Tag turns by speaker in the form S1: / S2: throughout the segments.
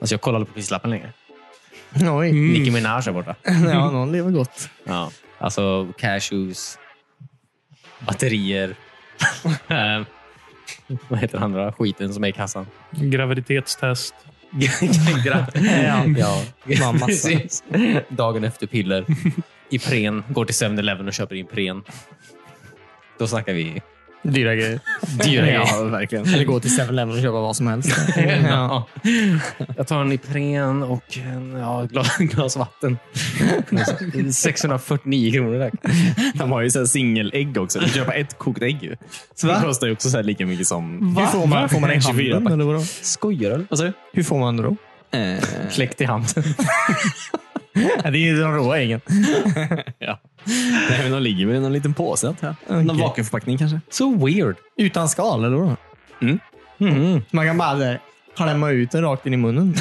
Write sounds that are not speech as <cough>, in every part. S1: Alltså jag kollar aldrig på prislappen längre.
S2: Oj.
S1: Nicki Minaj är borta.
S2: <laughs> Ja, någon lever gott.
S1: Ja. Alltså cashews,
S2: <laughs>
S1: batterier. Ehm, Vad heter den andra skiten som är i kassan?
S3: Graviditetstest.
S1: ja. ja. <laughs>
S2: <laughs> Mamma.
S1: Precis. Dagen efter piller. Ipren. Går till 7-Eleven och köper Ipren. Då snackar vi
S2: Dyra grejer.
S1: dyra grejer. <laughs>
S2: verkligen. Eller gå till 7-Eleven och köpa vad som helst. ja.
S1: Ja. Jag tar en Ipren och en, ja, ett glas, glas
S2: <laughs>
S1: vatten. 649 kronor. Där.
S4: De har ju så här singelägg också. Du köper ett kokt ägg. ju. Så det kostar ju också så här lika mycket som...
S2: Hur får man, får man en
S4: 24
S2: handen, eller vadå?
S1: Skojar du? Vad sa du?
S2: Hur får man det då?
S4: Eh.
S1: Kläckt
S4: <laughs>
S1: i handen.
S2: Det är ju den råa äggen.
S4: Nej, men de ligger väl i någon liten påse. antar jag. Någon
S2: Okej.
S4: vakuumförpackning kanske.
S1: Så weird.
S2: Utan skal, eller vadå?
S4: Mm.
S2: Man kan bara där, klämma ut den rakt in
S4: <laughs>
S2: i munnen.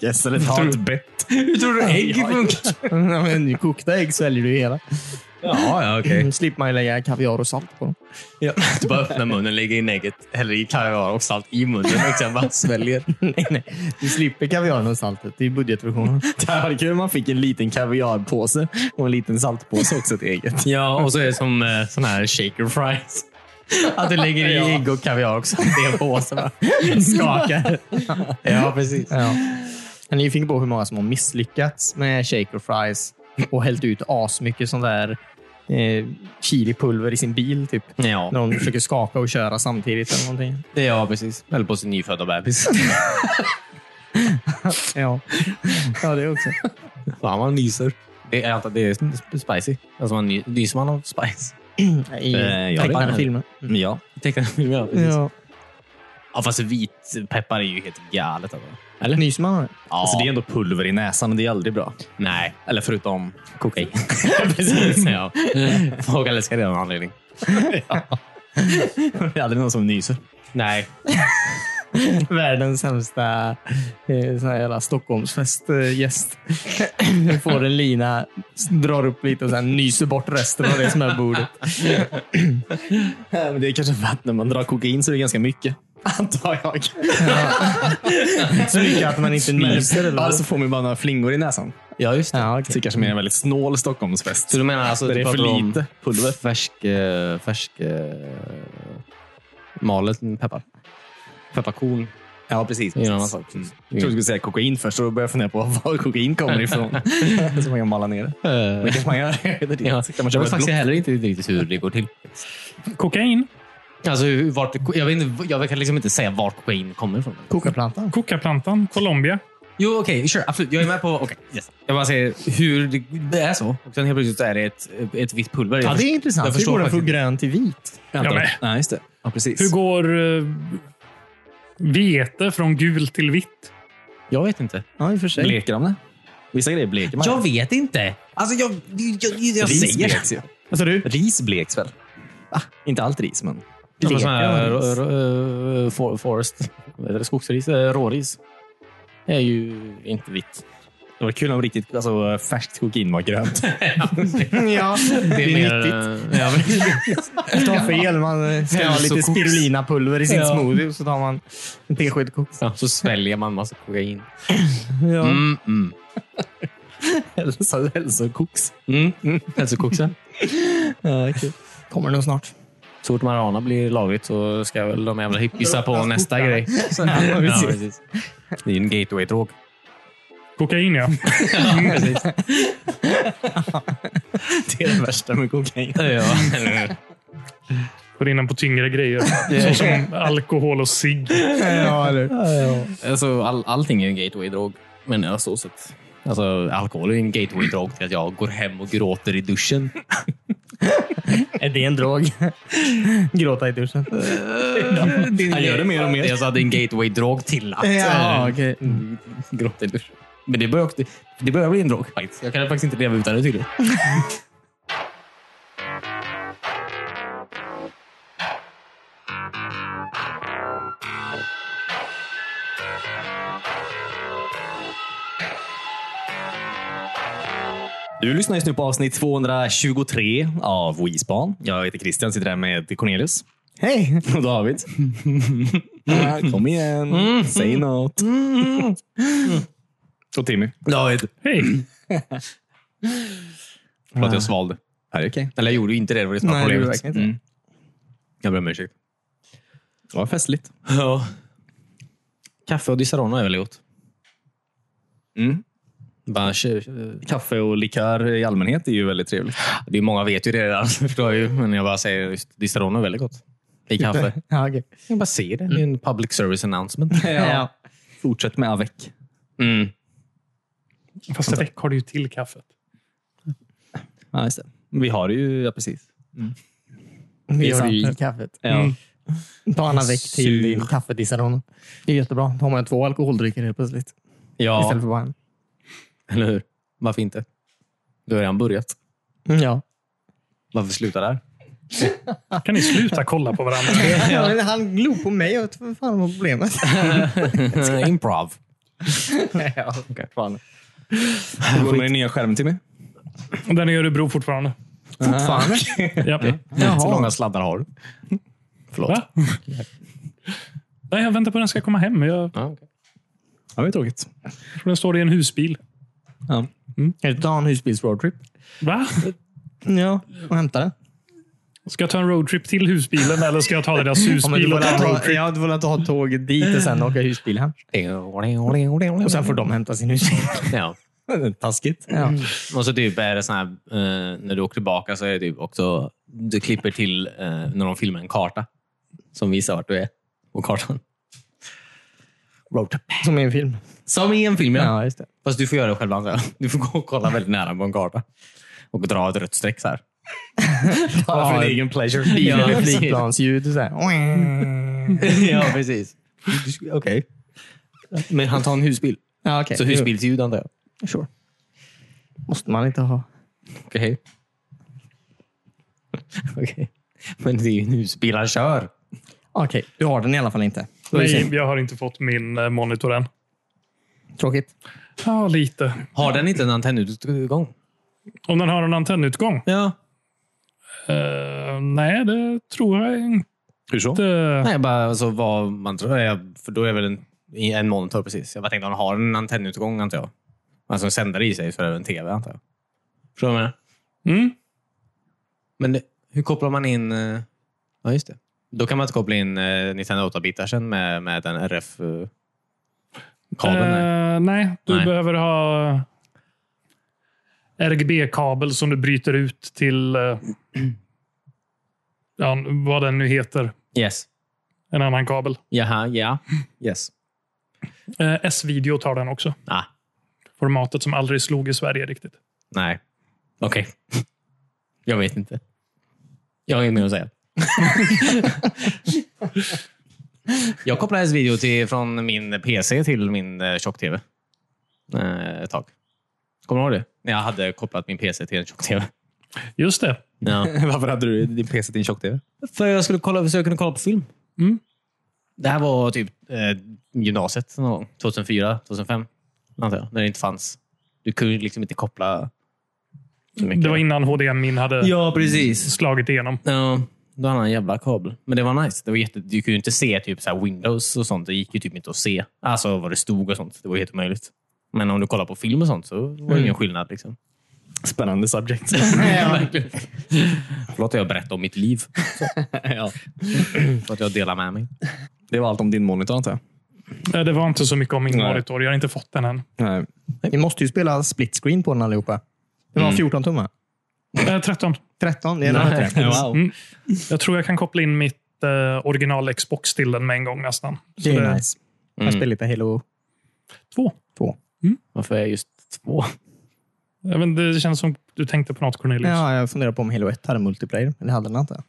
S4: Yes, eller ta ett bett.
S1: Hur tror du ägg funkar?
S2: Ja,
S4: <laughs>
S2: men Kokta ägg sväljer du hela. Mm,
S1: Ja, ja okej.
S2: slipper man ju lägga kaviar och salt på dem.
S1: Du <laughs> bara öppnar munnen, lägger in ägget, häller i kaviar och salt i munnen och sen bara sväljer.
S2: <laughs> nej, nej. Du slipper kaviaren och saltet. Det är budgetversionen.
S4: <laughs> Det här var kul om man fick en liten kaviarpåse och en liten saltpåse också till eget.
S1: Ja, och så är det som eh, sån här shaker fries. Att du lägger i ägg och kaviar också. Det är en
S4: <laughs>
S1: påse. va? Skakar. Ja, precis.
S2: Ja. Jag är nyfiken på hur många som har misslyckats med shaker fries och hällt ut asmycket sånt där eh, chilipulver i sin bil typ.
S1: Ja,
S2: När de försöker skaka och köra samtidigt
S1: <laughs>
S2: eller någonting.
S1: ja precis. Eller på sin nyfödda <laughs> bebis.
S2: Ja, ja det också.
S1: Fan, man nyser. Det är, det är sp- spicy. Alltså man ny, nyser man av spice.
S2: I
S1: Eh, ja,
S2: tecknade
S1: det-
S2: filmer.
S4: Ja.
S1: Tecknade filmer, <laughs> ja. Mm, Precis. Ja.
S2: Ja.
S1: fast vitpeppar är ju helt galet. Alltså.
S2: Eller? Nyser man av det?
S1: Ja.
S4: Alltså, det är ändå pulver i näsan och det är aldrig bra.
S1: Nej,
S4: Eller förutom kokain.
S1: <laughs> precis. Ja. <laughs> Folk älskar det av någon <laughs> anledning.
S4: <laughs> det är aldrig någon som nyser.
S1: Nej.
S2: <laughs> Världens sämsta eh, sån här jävla Stockholmsfest-gäst. Får en lina, s- drar upp lite och sen nyser bort resten av det som är på
S4: <laughs>
S2: bordet.
S4: Men det är kanske för att när man drar kokain så är det ganska mycket. <laughs> Antar jag.
S2: Så mycket att man inte nyser. Eller?
S4: Alltså får man ju bara några flingor i näsan.
S1: Ja, just det.
S2: Ja,
S4: Så det
S2: okej.
S4: kanske mer en väldigt snål Stockholmsfest.
S1: Så du menar alltså
S4: Där
S1: du
S4: det är för
S1: pratar om
S4: lite pulver?
S1: Färsk... eh, färsk eh, malet peppar. Pepparkorn.
S4: Ja, precis.
S1: Det är en annan
S4: precis.
S1: sak.
S4: Mm. Jag trodde du skulle säga kokain först och då började jag fundera på <laughs> var kokain kommer
S1: <laughs>
S4: ifrån. så man kan mala ner det. Men det kanske man gör. <laughs> Jag vet inte.
S1: Ja,
S4: Så kan
S1: Eh,
S4: man
S1: jag
S4: köpa
S1: vet faktiskt
S4: ett block.
S1: heller inte riktigt hur det går till.
S3: Kokain.
S1: Alltså, hur- vart, jag, vet inte, jag kan liksom inte säga vart kokain kommer ifrån.
S2: Kokaplantan.
S3: Kokaplantan. Colombia.
S1: Jo, okej. sure. Absolut. Jag är med på... Okay, yes. Jag bara säger hur det, det är så. Och sen helt plötsligt så är det ett, ett vitt pulver.
S2: Ja,
S1: Jag
S2: det är
S1: förstår-
S2: intressant.
S1: Jag
S2: Hur
S1: förstår
S2: går den från
S1: faktiskt.
S2: grön till vit?
S4: Vänta.
S3: Ja, men-
S4: Ja, just det. Ja, precis.
S3: Hur går eh, vete från gul till vitt?
S1: Jag vet inte.
S2: Ja, i och för sig.
S4: Bleker de det? Vissa grejer bleker man.
S1: Jag vet inte. Alltså, jag, jag, jag, jag
S4: ris
S1: säger...
S4: bleks ju.
S2: Vad sa du?
S4: Ris bleks väl? Ah, inte allt ris, men...
S1: Som en Alltså, sån här
S2: Bleker
S1: r- r- eh, for- forest... Vad heter det? Skogsris? Eh, Råris. Det är ju inte vitt.
S4: Det var kul om riktigt alltså, färskt kokain var grönt.
S2: Ja, det är nyttigt.
S1: nyttigt. eh, Ja, men-
S2: Ta fel. Man
S4: <laughs>
S2: eh, ska ha lite
S1: Hälsokoks.
S2: spirulinapulver i sin
S1: Ja.
S2: smoothie och så tar man en tesked koks.
S1: Ja, så sväljer man massa kokain.
S2: Ja.
S1: Mm, mm.
S4: Hälsa- Hälsokoks.
S1: Mm. Hälsokoksen.
S2: Kommer nog snart.
S1: Så fort marijuana blir lagligt så ska väl de jävla hippisar på nästa grej.
S2: Ja, precis.
S1: Det är ju en gateway-drog.
S3: Kokain, ja.
S2: <laughs>
S4: Det är det värsta med kokain.
S1: Ja.
S3: Går in på tyngre grejer. Såsom alkohol och cigg.
S2: Ja, eller?
S1: Alltså, all, allting är ju en gateway-drog. Men jag så sett. Alltså, alkohol är ju en gateway-drog till att jag går hem och gråter i duschen.
S2: <laughs> Är det en drog? <laughs> Gråta i duschen.
S1: Han gör Alltså, det mer och mer. Jag sa att det är en gateway-drog till att eh,
S2: Ja, okej.
S1: gråta i duschen. Men det börjar, också- det börjar bli en drog faktiskt. Jag kan faktiskt inte leva utan det tydligen.
S4: Du lyssnar just nu på avsnitt 223
S2: <laughs>
S4: av WeSpan. Jag heter Christian, sitter här med Cornelius
S2: Hej!
S4: och David.
S5: Ah, kom igen,
S2: Mm.
S5: säg något. Och Timmy.
S1: David.
S3: Hej!
S5: För att jag svalde. Ja, det är okej. Eller jag gjorde ju inte det. Det var det som var
S2: Nej, det gjorde
S5: problemet.
S2: verkligen inte.
S5: Mm. Jag ber om ursäkt. Det var festligt.
S1: Ja. Kaffe och Disaronno är väl gott?
S5: Mm.
S1: Bara, kö-
S5: Kaffe och likör i allmänhet är ju väldigt trevligt.
S1: det är många vet ju det <laughs> redan, förstår jag ju. Men jag bara säger just Disaronno är väldigt gott. I
S2: <laughs>
S1: kaffe.
S2: Ja, okej.
S1: Jag bara ser det. Det är en public service announcement.
S2: Ja.
S5: Fortsätt med avec.
S1: Mm.
S3: Fast väck har du ju till kaffet.
S5: Ja, just det. Vi har det ju, ja precis.
S2: Vi
S5: Det är
S2: gör det i
S5: sant.
S2: kaffet.
S5: Ja.
S3: Mm.
S2: Ta en väck till
S5: Sur.
S2: din kaffedissaron. Det är jättebra. Då har man två alkoholdrycker helt plötsligt.
S1: Ja,
S2: Istället för bara en.
S1: eller hur? Varför inte? Du har redan börjat.
S2: Mm, <laughs> Ja.
S5: Varför sluta där?
S3: Kan ni sluta kolla på varandra?
S2: Men Han glor på mig. Jag vet inte vad fan var problemet.
S1: <laughs> Improv.
S2: ja.
S5: Okay, fan. Hur går det med den nya skärmen Timmy?
S3: Den är i Örebro fortfarande.
S2: Fortfarande?
S3: Ja.
S1: Så långa sladdar har du.
S3: Va? Nej, jag väntar på att den ska komma hem. Jag
S1: Ja, okay.
S5: Ja, det är tråkigt.
S3: tror den står i en husbil.
S5: Ja.
S2: Kan du ta en husbils roadtrip?
S3: Va?
S2: Ja, och hämta den.
S3: Ska jag ta en roadtrip till husbilen eller ska jag ta deras
S2: Ja, men du
S3: husbil
S2: får
S3: och ta en
S2: väl
S3: roadtrip?
S2: ta, ja, du får väl ta tåget dit och sen åka husbil hem. Och sen får de hämta sin husbil.
S1: <laughs>
S2: <laughs>
S1: ja.
S5: Taskigt.
S2: Ja.
S1: Och så typ är det sån här, eh, när du åker tillbaka så är det typ också, du klipper till eh, när de filmar en karta som visar vart du är på kartan. Roadtrip.
S2: Som i en film.
S1: Som i en film, ja.
S2: Ja,
S5: <laughs>
S2: just det.
S1: Fast du får göra det själv. antar jag. Du får gå och kolla väldigt nära på en karta och dra ett rött streck så här.
S2: Ja,
S1: din
S2: egen
S1: pleasure.
S2: Bil
S1: Ja,
S2: med
S1: precis.
S2: flygplansljud. och
S5: <laughs>
S2: Så här.
S1: <laughs> ja, precis. Okej. Men han tar en husbil.
S2: Ja, okej.
S1: Så husbilsljud antar jag.
S2: Sure. Måste man inte ha.
S1: Okej. <laughs> Okej. Men det är ju en husbil han kör.
S2: Okej, du har den i alla fall inte. Då är det
S3: Nej,
S2: synd.
S3: jag har inte fått min eh, monitor än.
S2: Tråkigt.
S3: Ja, lite.
S1: Har den inte en antennutgång?
S3: Om den har en antennutgång?
S1: Ja.
S3: Eh, nej, det tror jag inte.
S5: Hur så?
S1: Nej, bara alltså, vad man tror. Jag, för då är väl en, i en monitor precis. Jag bara tänkte, han har en antennutgång antar jag. Alltså en sändare i sig så är det väl en tv antar jag. Förstår du vad jag menar?
S3: Mm.
S1: Men det, hur kopplar man in... eh, Ja, just det. Då kan man inte koppla in eh, Nintendo 8-bitarsen med, med den eh, RF-kabeln. där.
S3: Eh, nej, du
S1: Nej.
S3: behöver ha eh, RGB-kabel som du bryter ut till eh, ja, vad den nu heter.
S1: yes.
S3: En annan kabel.
S1: Jaha, ja. Yes.
S3: Eh, S-video tar den också.
S1: Ah,
S3: Formatet som aldrig slog i Sverige riktigt.
S1: nej. Okej. <laughs> jag vet inte. Jag har inget mer att säga. <laughs> jag kopplade en video till, från min PC till min eh, tjock-tv. Eh, ett tag. Kommer du ihåg det? När jag hade kopplat min PC till en tjock-tv.
S3: Just det.
S1: Ja.
S5: <laughs> Varför hade du din PC till en tjock-tv?
S1: För jag skulle kolla, försöka kunna kolla på film.
S3: Mm.
S1: Det här var typ eh, gymnasiet någon gång. 2004, 2005. Antar jag, när det inte fanns. Du kunde liksom inte koppla så mycket.
S3: Det var innan HDMI hade
S1: Ja, precis.
S3: slagit igenom.
S1: Ja, då hade han en jävla kabel. Men det var nice. Det var jätte... Du kunde ju inte se typ så här Windows och sånt. Det gick ju typ inte att se. Alltså vad det stod och sånt. Det var helt omöjligt. Men om du kollar på film och sånt så var det ingen skillnad. <laughs> Liksom.
S5: Spännande subject.
S1: Förlåt att jag berättade om mitt liv. <laughs> För att jag delar med mig.
S5: <laughs> Det var allt om din monitor antar jag?
S3: Eh, Det var inte så mycket om min
S5: Nej.
S3: monitor. Jag har inte fått den än.
S5: Nej. Mm.
S2: Vi måste ju spela split screen på den allihopa. Det var 14 tummar.
S3: Eh, 13.
S2: 13? Det är den här
S5: <laughs>
S2: 13.
S5: Wow.
S3: Mm. Jag tror jag kan koppla in mitt eh, original Xbox till den med en gång nästan. Så
S2: Det är nice. Jag
S1: Mm.
S2: spelar lite Halo
S3: Två.
S2: 2.
S1: Varför är jag just två?
S3: Ja, men det känns som du tänkte på något Cornelius.
S2: Ja, jag funderar på om Halo 1 hade multiplayer, men det hade den inte.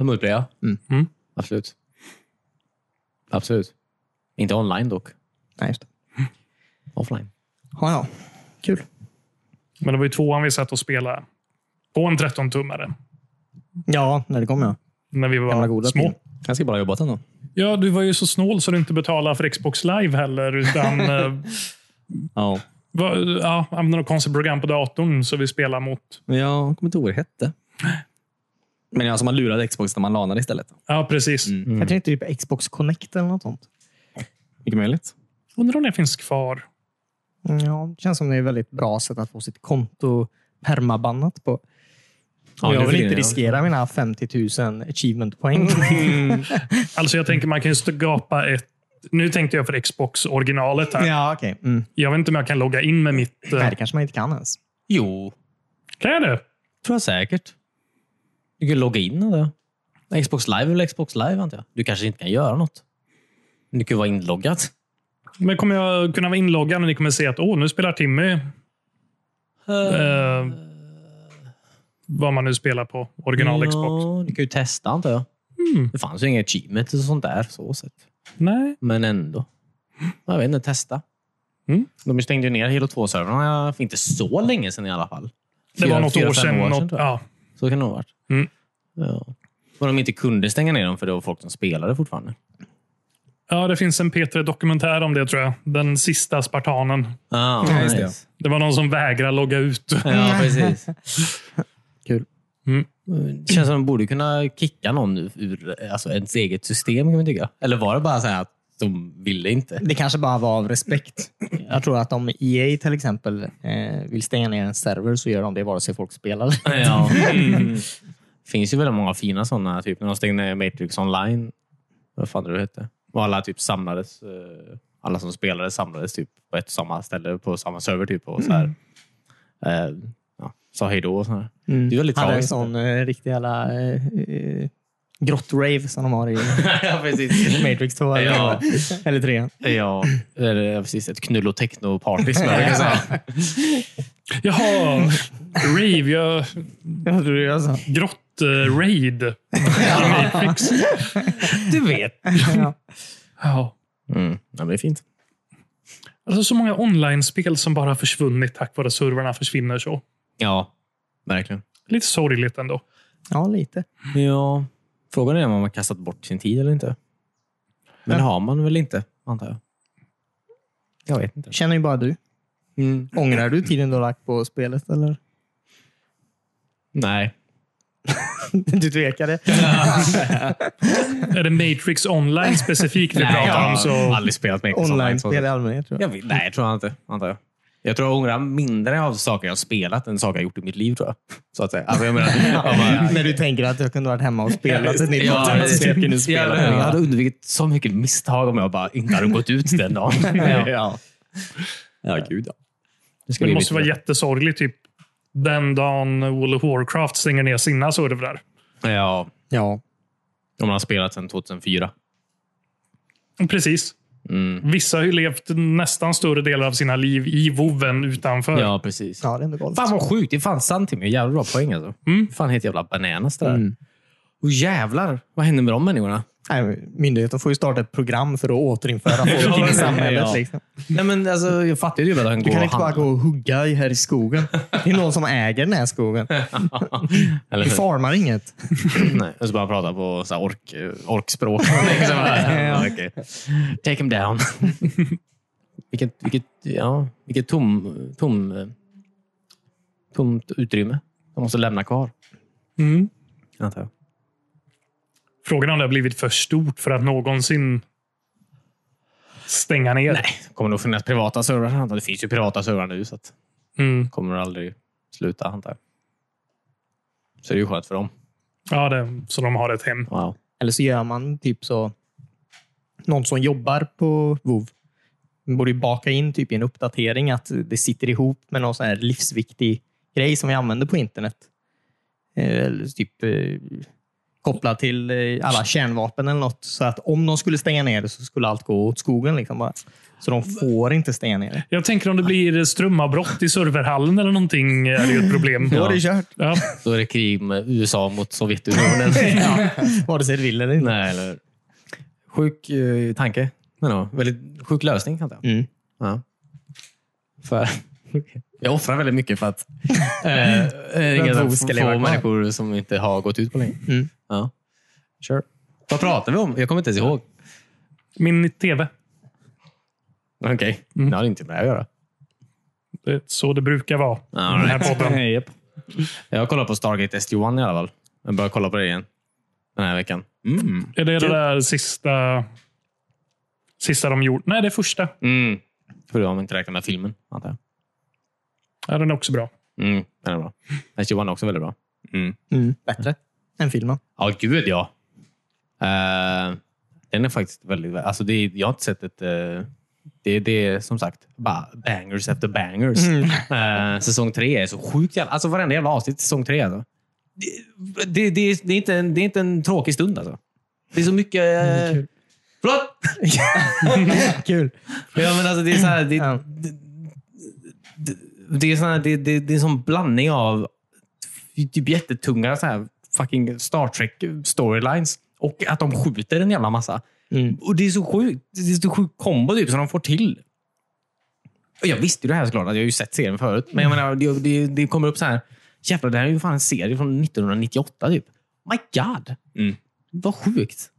S1: Multiplayer?
S2: Mm.
S3: Mm.
S1: Absolut. Absolut. Inte online dock.
S2: Nej, just det.
S1: Offline.
S2: Ja, ja. Kul.
S3: Men det var ju tvåan vi satt och spelade på en 13-tummare
S2: Ja, när det kommer. Ja.
S3: när vi
S2: Gamla
S3: var
S2: goda
S3: små.
S2: tid.
S5: Ganska bra jobbat ändå.
S3: Ja, du var ju så snål så du inte betalade för Xbox live
S2: <laughs>
S3: heller. Utan, eh,
S5: Ja.
S3: va, ja, använde något konstigt program på datorn så vi spelade mot...
S5: Men jag kommer inte ihåg vad det hette.
S6: Men alltså man lurade Xbox när man lanade istället.
S3: Ja, precis.
S2: Jag tänkte typ Xbox Connect eller något sånt.
S6: Mycket möjligt.
S3: Undrar om det finns kvar.
S2: Mm, Ja, det känns som det är ett väldigt bra sätt att få sitt konto permabannat på.
S1: Ja,
S2: Och
S1: nu
S2: jag
S1: för
S2: vill
S1: tiden,
S2: inte
S1: ja.
S2: riskera mina 50 000 achievement-poäng.
S3: Alltså jag tänker man kan ju skapa ett... Nu tänkte jag för Xbox-originalet här.
S2: ja, okej. Mm.
S3: Jag vet inte om jag kan logga in med mitt... eh,
S2: Nej, det kanske man inte kan ens.
S1: Jo,
S3: Kan jag det?
S1: tror jag säkert. Du kan logga in och det. Xbox Live eller Xbox Live, antar jag. Du kanske inte kan göra något. Men du kan ju vara inloggad.
S3: Men kommer jag kunna vara inloggad och ni kommer se att åh, nu spelar Timmy eh, vad man nu spelar på original Xbox.
S1: Ja, du kan ju testa, antar jag.
S3: Mm.
S1: Det fanns ju inga achievements och sånt där. Så sett.
S3: Nej.
S1: Men ändå. Jag vet inte, testa.
S3: Mm.
S1: De stängde ju ner Halo 2-servrarna för inte så länge sedan i alla fall.
S3: Det var
S1: Fyra-
S3: något
S1: fyra,
S3: år
S1: fem
S3: sedan.
S1: tror
S3: Något,
S1: jag.
S3: ja.
S1: Så kan det nog ha varit.
S3: Mm.
S1: Ja. Och de inte kunde stänga ner dem för det var folk som spelade fortfarande.
S3: ja, det finns en P3 Dokumentär om det tror jag. Den sista spartanen.
S1: Ah,
S6: Ja, just det.
S1: nice.
S3: Det var någon som vägrade logga ut. <laughs>
S1: Ja, precis.
S2: Kul.
S3: Mm.
S1: Det känns som de borde kunna kicka någon ur- ur alltså, ens eget system, kan man tycka. Eller var det bara så här att de ville inte?
S2: Det kanske bara var av respekt. Jag tror att om EA till exempel eh, vill stänga ner en server så gör de det vare sig folk spelar.
S1: <laughs> Ja. Mm. finns ju väldigt många fina sådana. Typ när de stängde ner Matrix online. Vad fan är det det hette? Och alla typ samlades. eh, Alla som spelade samlades typ på ett och samma ställe på samma server. Typ, och så här, eh, ja, sa hej då och sådär. Det är väldigt
S2: Hade en
S1: tragiskt.
S2: sån eh, riktig jävla eh, eh, grottrave som de har i <laughs>
S1: <laughs> ja, precis.
S2: Matrix 2 eller,
S1: Ja.
S2: eller 3.
S1: Ja, eller, ja, precis. Ett knull och techno-party som jag brukar säga.
S3: Jaha, rave. Jag,
S2: Jag tror alltså.
S1: <laughs>
S2: jag sa.
S3: grott eh, raid. Matrix.
S1: <laughs> Du vet.
S2: Ja.
S3: Ja.
S1: Mm. Ja, men det är fint.
S3: Alltså så många online-spel som bara har försvunnit tack vare servrarna försvinner så.
S1: Ja, verkligen.
S3: Lite sorgligt ändå.
S2: ja, lite.
S1: Ja, frågan är om man har kastat bort sin tid eller inte. Men det har man väl inte, antar jag. Jag vet inte.
S2: Känner ju bara du.
S1: Mm.
S2: Ångrar du tiden du har lagt på spelet? Eller? <laughs>
S1: Nej.
S2: Du tvekade.
S3: Är det Matrix online specifikt vi
S1: Nej, jag
S3: pratar om
S1: har
S3: så...
S1: aldrig spelat med
S2: Online-spel i allmänhet tror jag.
S1: Jag vet, nej, jag tror jag inte. Antar jag. Jag tror jag ångrar mindre av saker jag har spelat än saker jag gjort i mitt liv, tror jag. Så att säga. Alltså, jag <laughs> menar, om
S2: <laughs>
S1: man-
S2: När du tänker att jag kunde varit hemma och spelat ett nytt
S1: Ja,
S2: ja,
S1: precis.
S2: jag kunde
S1: Ja,
S2: spela.
S1: Jag hade undvikit så mycket misstag om jag bara inte hade gått ut den dagen. <laughs>
S2: Ja.
S1: ja gud ja. Det, ska
S3: Men
S1: bli
S3: det måste vara
S1: viktigt.
S3: jättesorgligt typ den dagen World of Warcraft stänger ner sina servrar.
S1: Ja,
S2: ja.
S1: om man har spelat sedan 2004.
S3: Precis.
S1: Mm.
S3: Vissa har ju levt nästan större delar av sina liv i voven utanför.
S1: Ja, precis.
S2: ja, det är ändå galet.
S1: Fan vad sjukt. Det är fan sant till mig. Jävla bra poäng alltså. Fan helt jävla bananas det där. Och jävlar, vad händer med de människorna?
S2: Nej, men myndigheten får ju starta ett program för
S1: <laughs>
S2: att återinföra folk in i samhället.
S1: Ja.
S2: Liksom.
S1: Nej, men alltså, jag fattar ju att han
S2: Du
S1: går
S2: kan
S1: och
S2: inte bara
S1: handlar.
S2: gå och hugga i- här i skogen. Det är någon som äger den
S1: <laughs>
S2: här skogen.
S1: Eller
S2: Vi
S1: hur?
S2: farmar inget.
S1: <clears throat> Nej, och så bara prata på så här ork, orkspråk. <laughs> liksom.
S2: Ja.
S1: Okej. Take him down. <laughs> vilket, vilket, ja, vilket tom, tom, tomt utrymme de måste lämna kvar.
S3: Mm.
S1: Antar jag.
S3: Frågan är om det har blivit för stort för att någonsin stänga ner.
S1: Nej, det kommer nog finnas privata servrar. antar jag. Det finns ju privata servrar nu, så att
S3: Mm.
S1: det kommer nog aldrig sluta. Antar jag. Så det är ju skönt för dem.
S3: Ja, det, så de har ett hem.
S1: Wow.
S2: Eller så gör man typ så. Någon som jobbar på VOV borde ju baka in typ i en uppdatering att det sitter ihop med någon sån här livsviktig grej som vi använder på internet. Eh, Eller typ eh, kopplad till eh, alla kärnvapen eller något. Så att om de skulle stänga ner det så skulle allt gå åt skogen. Liksom bara. Så de får inte stänga ner det.
S3: Jag tänker om det blir strömavbrott i serverhallen eller någonting är det ju ett problem.
S2: Då är det kört.
S3: Ja.
S1: Då är det krig med USA mot <laughs> Sovjetunionen.
S2: Ja, vare sig det vill eller inte.
S1: Nej, eller Sjuk eh, tanke. Men ja, väldigt sjuk lösning, antar jag.
S2: Mm.
S1: Ja. För, <laughs> jag offrar väldigt mycket för att
S2: <laughs>
S1: eh, eh,
S2: att
S1: få-
S2: bo ska leva
S1: få
S2: kvar.
S1: människor som inte har gått ut på länge.
S2: Mm.
S1: Ja. Sure. Vad pratar vi om? Jag kommer inte ens ihåg.
S3: Min tv.
S1: Okej, Mm. det har inte med det att göra.
S2: <laughs>
S3: Det är så det brukar vara. i Den här podden.
S1: Jag kollar på Stargate SG-1 i alla fall. Jag börjar kolla på det igen den här veckan.
S7: Mm.
S3: Är det det där sista, sista de gjort? Nej, det är första.
S1: Mm. För de inte räknar med filmen, antar jag.
S3: Ja, den är också bra.
S1: Mm, den är bra. Match Johan är också väldigt bra. Mm.
S2: Mm. Bättre än
S7: <laughs>
S2: filmen.
S1: Ja, gud ja. Eh, den är faktiskt väldigt... Alltså det, är- jag har inte sett ett... eh, det, det är som sagt bara bangers efter bangers. Eh, säsong tre är så sjukt jävla... Alltså varenda jävla avsnitt i säsong tre. Alltså. Det, det, det, är- det, är inte en, det är inte en tråkig stund alltså. Det är så mycket... Eh, förlåt!
S2: Kul.
S1: Ja, men alltså det är så här, det,
S2: Ja.
S1: det, det, det är så här, det, det, det är en sån blandning av typ jättetunga så här fucking Star Trek storylines och att de skjuter en jävla massa.
S2: Mm.
S1: Och det är så sjukt. Det är så sjuk kombo typ som de får till. Och jag visste ju det här såklart. Alltså, Jag har ju sett serien förut. Men jag menar, det, det, det kommer upp så här. Jävlar, det här är ju fan en serie från 1998 typ. My God!
S7: Mm.
S1: Vad sjukt.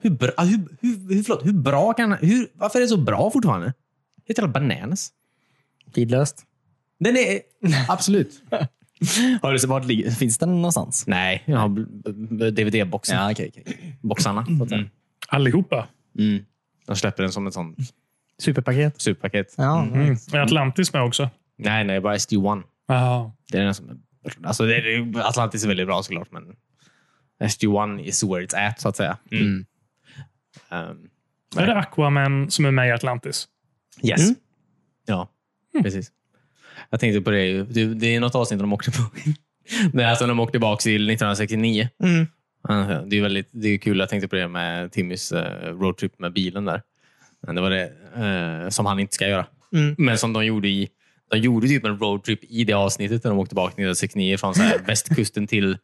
S1: Hur bra, ah, hur, hur, hur, förlåt, hur bra kan... Hur, varför är det så bra fortfarande? Det är ett jävla bananas.
S2: Tidlöst.
S1: Den <laughs> är... Absolut. <laughs>
S7: Har du sett vart ligger- Finns den någonstans?
S1: Nej, jag har b- b- DVD-boxen.
S7: Ja, okej. okej.
S1: Boxarna. Så att säga.
S3: Allihopa.
S1: Mm. De släpper den som ett sånt
S2: Superpaket.
S1: superpaket.
S2: Ja,
S3: Mm. Är Atlantis med också?
S1: Nej, nej, bara SD1.
S3: Ja.
S1: Det är den som... Alltså, det är, Atlantis är väldigt bra såklart, men SG-1 is where it's at, så att säga. Mm. Ehm,
S3: Är det Aquaman som är med i Atlantis?
S1: yes. Ja, precis. Jag tänkte på det. ju. Det, det är något avsnitt de åkte på. <laughs> Nej, alltså de åkte tillbaka till 1969.
S2: Mm.
S1: Ja, Det är, väldigt, det är kul, jag tänkte på det med Timmys eh, roadtrip med bilen där. Men det var det eh, som han inte ska göra.
S2: Mm.
S1: Men som de gjorde i de gjorde typ en roadtrip i det avsnittet när de åkte tillbaka 1969 från så här <laughs> västkusten till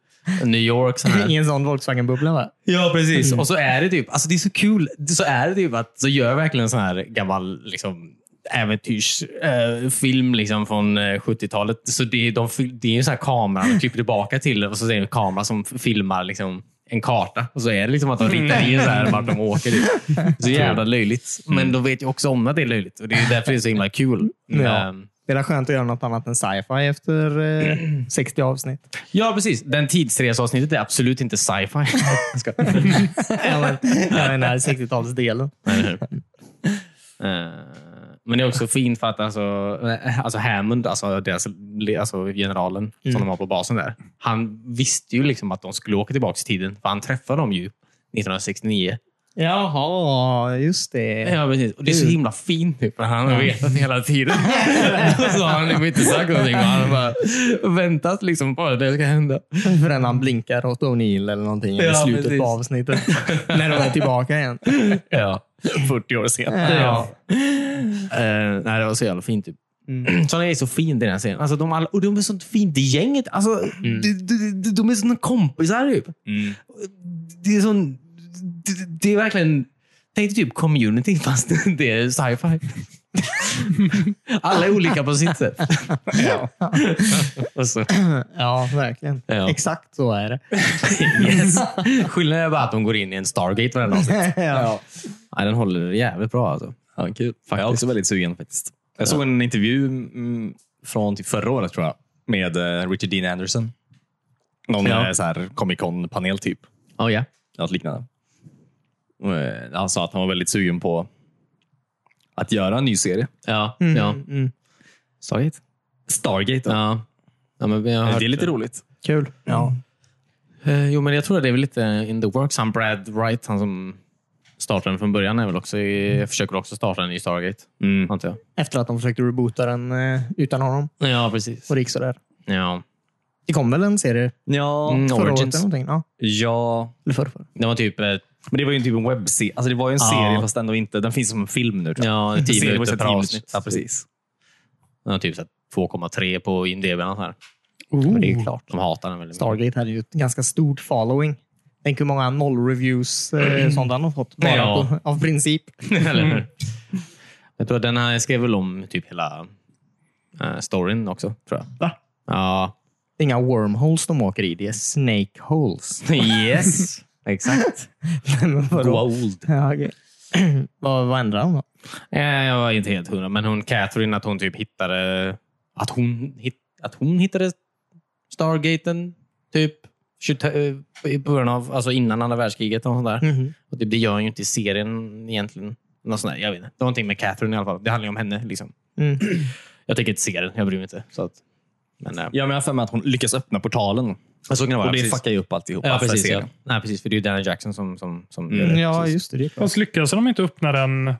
S1: New York. Så här.
S2: I en sån Volkswagen-bubbla. va?
S1: Ja, precis. Och så är det typ, alltså det är så kul, så är det typ att så gör verkligen en sån här gammal liksom, äventyrsfilm eh, film, liksom, från eh, 70-talet. Så det, är- de, fil- det är ju så här kameran, de klipper tillbaka till och så är det en kamera som f- filmar liksom, en karta. Och så är det liksom att de ritar in så här vart de åker. Typ. Så jävla löjligt. Men de vet ju också om att det är löjligt och det är därför det är så himla kul.
S2: Ja.
S1: Ehm,
S2: Det är väl skönt att göra något annat än sci-fi efter eh,
S1: <clears throat>
S2: 60 avsnitt.
S1: ja, precis. Den tidsresavsnittet är absolut inte sci-fi. <laughs> Jag ska-
S2: Eller den här 60-talsdelen.
S1: Eller hur? <laughs> Eh, Men det är också fint för att alltså, eh, alltså Hammond, alltså, deras, le- alltså generalen som de har på basen där. Han visste ju liksom att de skulle åka tillbaka i tiden. För han träffade dem ju 1969.
S2: Jaha, just det.
S1: Ja, precis. Och det är så himla fint nu, för han har vetat hela tiden. Och så har han liksom inte sagt någonting. Och han har bara väntat liksom på att det ska hända.
S2: Förrän han blinkar åt O'Neill eller någonting i
S1: Ja,
S2: slutet
S1: precis.
S2: på avsnittet. När de är tillbaka igen.
S7: <laughs>
S1: Ja.
S7: 40 år senare.
S1: Ja. Eh, nej, det var så jävla fint. Typ. <clears throat>
S7: Mm.
S1: Så han är så fin i den här scenen. Alltså, de, alla, och de är sånt fint gäng. Alltså, de, de, de, de är såna kompisar. Typ.
S7: Mm.
S1: Det är sån... Det, det är verkligen... Tänk dig typ community fast <laughs> det är sci-fi. Alla är olika på sitt sätt. <laughs> och så,
S2: Ja, verkligen.
S1: Ja.
S2: Exakt så är det.
S1: yes. Skillnaden är bara att de går in i en Stargate varenda avsnitt.
S2: ja.
S1: Nej, Den håller jävligt bra. Alltså.
S7: Ja, kul. Jag är också väldigt sugen faktiskt. Jag såg en intervju mm, från typ förra året tror jag med eh, Richard Dean Anderson. Någon
S1: Ja.
S7: eh, så här Comic Con-panel typ.
S1: Oh, ja.
S7: Något liknande. Och, eh, Han sa att han var väldigt sugen på att göra en ny serie.
S1: Ja.
S2: Mm,
S1: ja.
S2: mm.
S1: Stargate?
S7: Stargate. då.
S1: Ja. ja men vi har hört-
S7: Det är lite roligt.
S2: Kul. Ja.
S1: Mm. Eh, Jo, men jag tror att det är väl lite in the works. Han Brad Wright, han som startade den från början, är väl också i, försöker också starta en ny Stargate.
S7: Mm.
S1: Antar jag.
S2: Efter att de försökte reboota den eh, utan honom.
S1: Ja, precis.
S2: Och det gick sådär.
S1: Ja.
S2: Det kom väl en serie
S7: Ja,
S1: Mm,
S2: förra året
S1: Origins.
S2: eller någonting? Ja.
S7: ja,
S2: Eller förra, förra.
S1: Det var typ eh,
S7: men det var ju typ en webbserie. Alltså det var ju en
S1: Ja.
S7: serie fast ändå inte. Den finns som en film nu. Tror jag.
S1: ja, 10
S7: Serien var
S1: minuter
S7: ju
S1: per
S7: så här 10
S1: avsnitt.
S7: minuter. Ja, precis.
S1: Det var typ så här 2,3 på IMDB. eller nåt Här.
S2: Men det är ju klart.
S1: De hatar den väldigt mycket.
S2: Stargate hade ju ett ganska stort following. Tänk hur många noll-reviews eh,
S7: Mm.
S2: som den har fått. Bara
S1: Ja.
S2: på, av princip.
S1: Eller hur? Mm. Jag tror att den här skrev väl om typ hela eh, storyn också, tror jag.
S2: Va?
S1: Ja.
S2: Det är inga wormholes de åker i. Det är snake holes.
S1: Yes! <laughs> Exakt.
S2: <laughs> Men vadå?
S1: Gold.
S2: Ja, okej. <clears throat> vad, vad ändrar hon då?
S1: Eh, Jag var inte helt hundra, men hon Catherine att hon typ hittade att hon, hit- att hon hittade Stargaten. Typ.
S7: 20, eh, I början av, alltså innan andra världskriget. Och sånt där.
S2: Mhm.
S7: Och typ, det, det gör han ju inte i serien egentligen. Något sånt där, jag vet inte. Det var någonting med Catherine i alla fall. Det handlar ju om henne. Liksom.
S2: Mm.
S7: Jag tänker inte se den. Jag bryr mig inte. Så att, men, eh,
S1: Jag menar för mig att hon lyckas öppna portalen.
S7: men så kan det vara.
S1: och det
S7: precis.
S1: fuckar ju upp alltihop.
S7: Ja,
S1: Alltså,
S7: precis,
S1: serien.
S7: ja. Nej, precis. För det är ju Daniel Jackson som, som, som
S1: Mm.
S7: gör det.
S2: Ja,
S7: precis.
S2: just det. det är klart.
S3: Fast lyckades de inte öppna den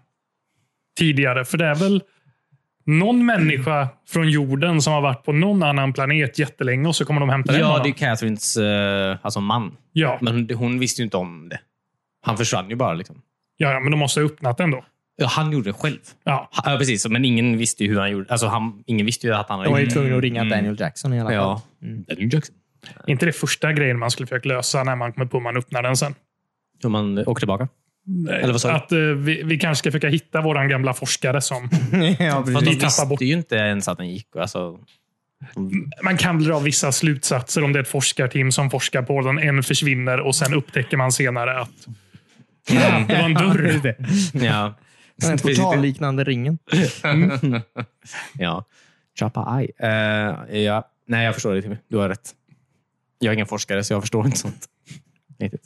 S3: tidigare? För det är väl någon människa från jorden som har varit på någon annan planet jättelänge och så kommer de hämta den
S7: ja,
S3: honom.
S7: det är Catherines eh, alltså man.
S3: ja.
S7: Men hon, hon visste ju inte om det. Han försvann ju bara. Liksom.
S3: ja, ja, men de måste ha öppnat den då.
S7: Ja, han gjorde det själv.
S3: Ja.
S7: Ha- Ja, precis. Men ingen visste ju hur han gjorde. Alltså, han, ingen visste ju att han hade
S2: De var ju
S7: gjort det.
S2: tvungna att ringa Daniel Jackson i alla fall.
S7: Ja.
S2: Mm.
S7: Daniel Jackson.
S3: inte det första grejen man skulle försöka lösa när man kommer på hur man öppnar den sen.
S7: Hur man eh, åker tillbaka. Eller vad sa du?
S3: Att eh, vi, vi kanske ska försöka hitta våran gamla forskare som...
S2: <laughs> ja,
S7: Fast de
S2: precis.
S3: tappar
S7: visste
S3: bort-
S7: ju inte ens att den gick. Alltså,
S3: Man kan dra vissa slutsatser om det är ett forskarteam som forskar på den. En försvinner och sen upptäcker man senare att ja, det var en dörr.
S7: <laughs> ja.
S2: Den här portalliknande ringen.
S7: Ja. Chapa aj. Eh, ja. Nej, jag förstår det Timmy. Du har rätt. Jag är ingen forskare, så jag förstår inte sånt. Riktigt.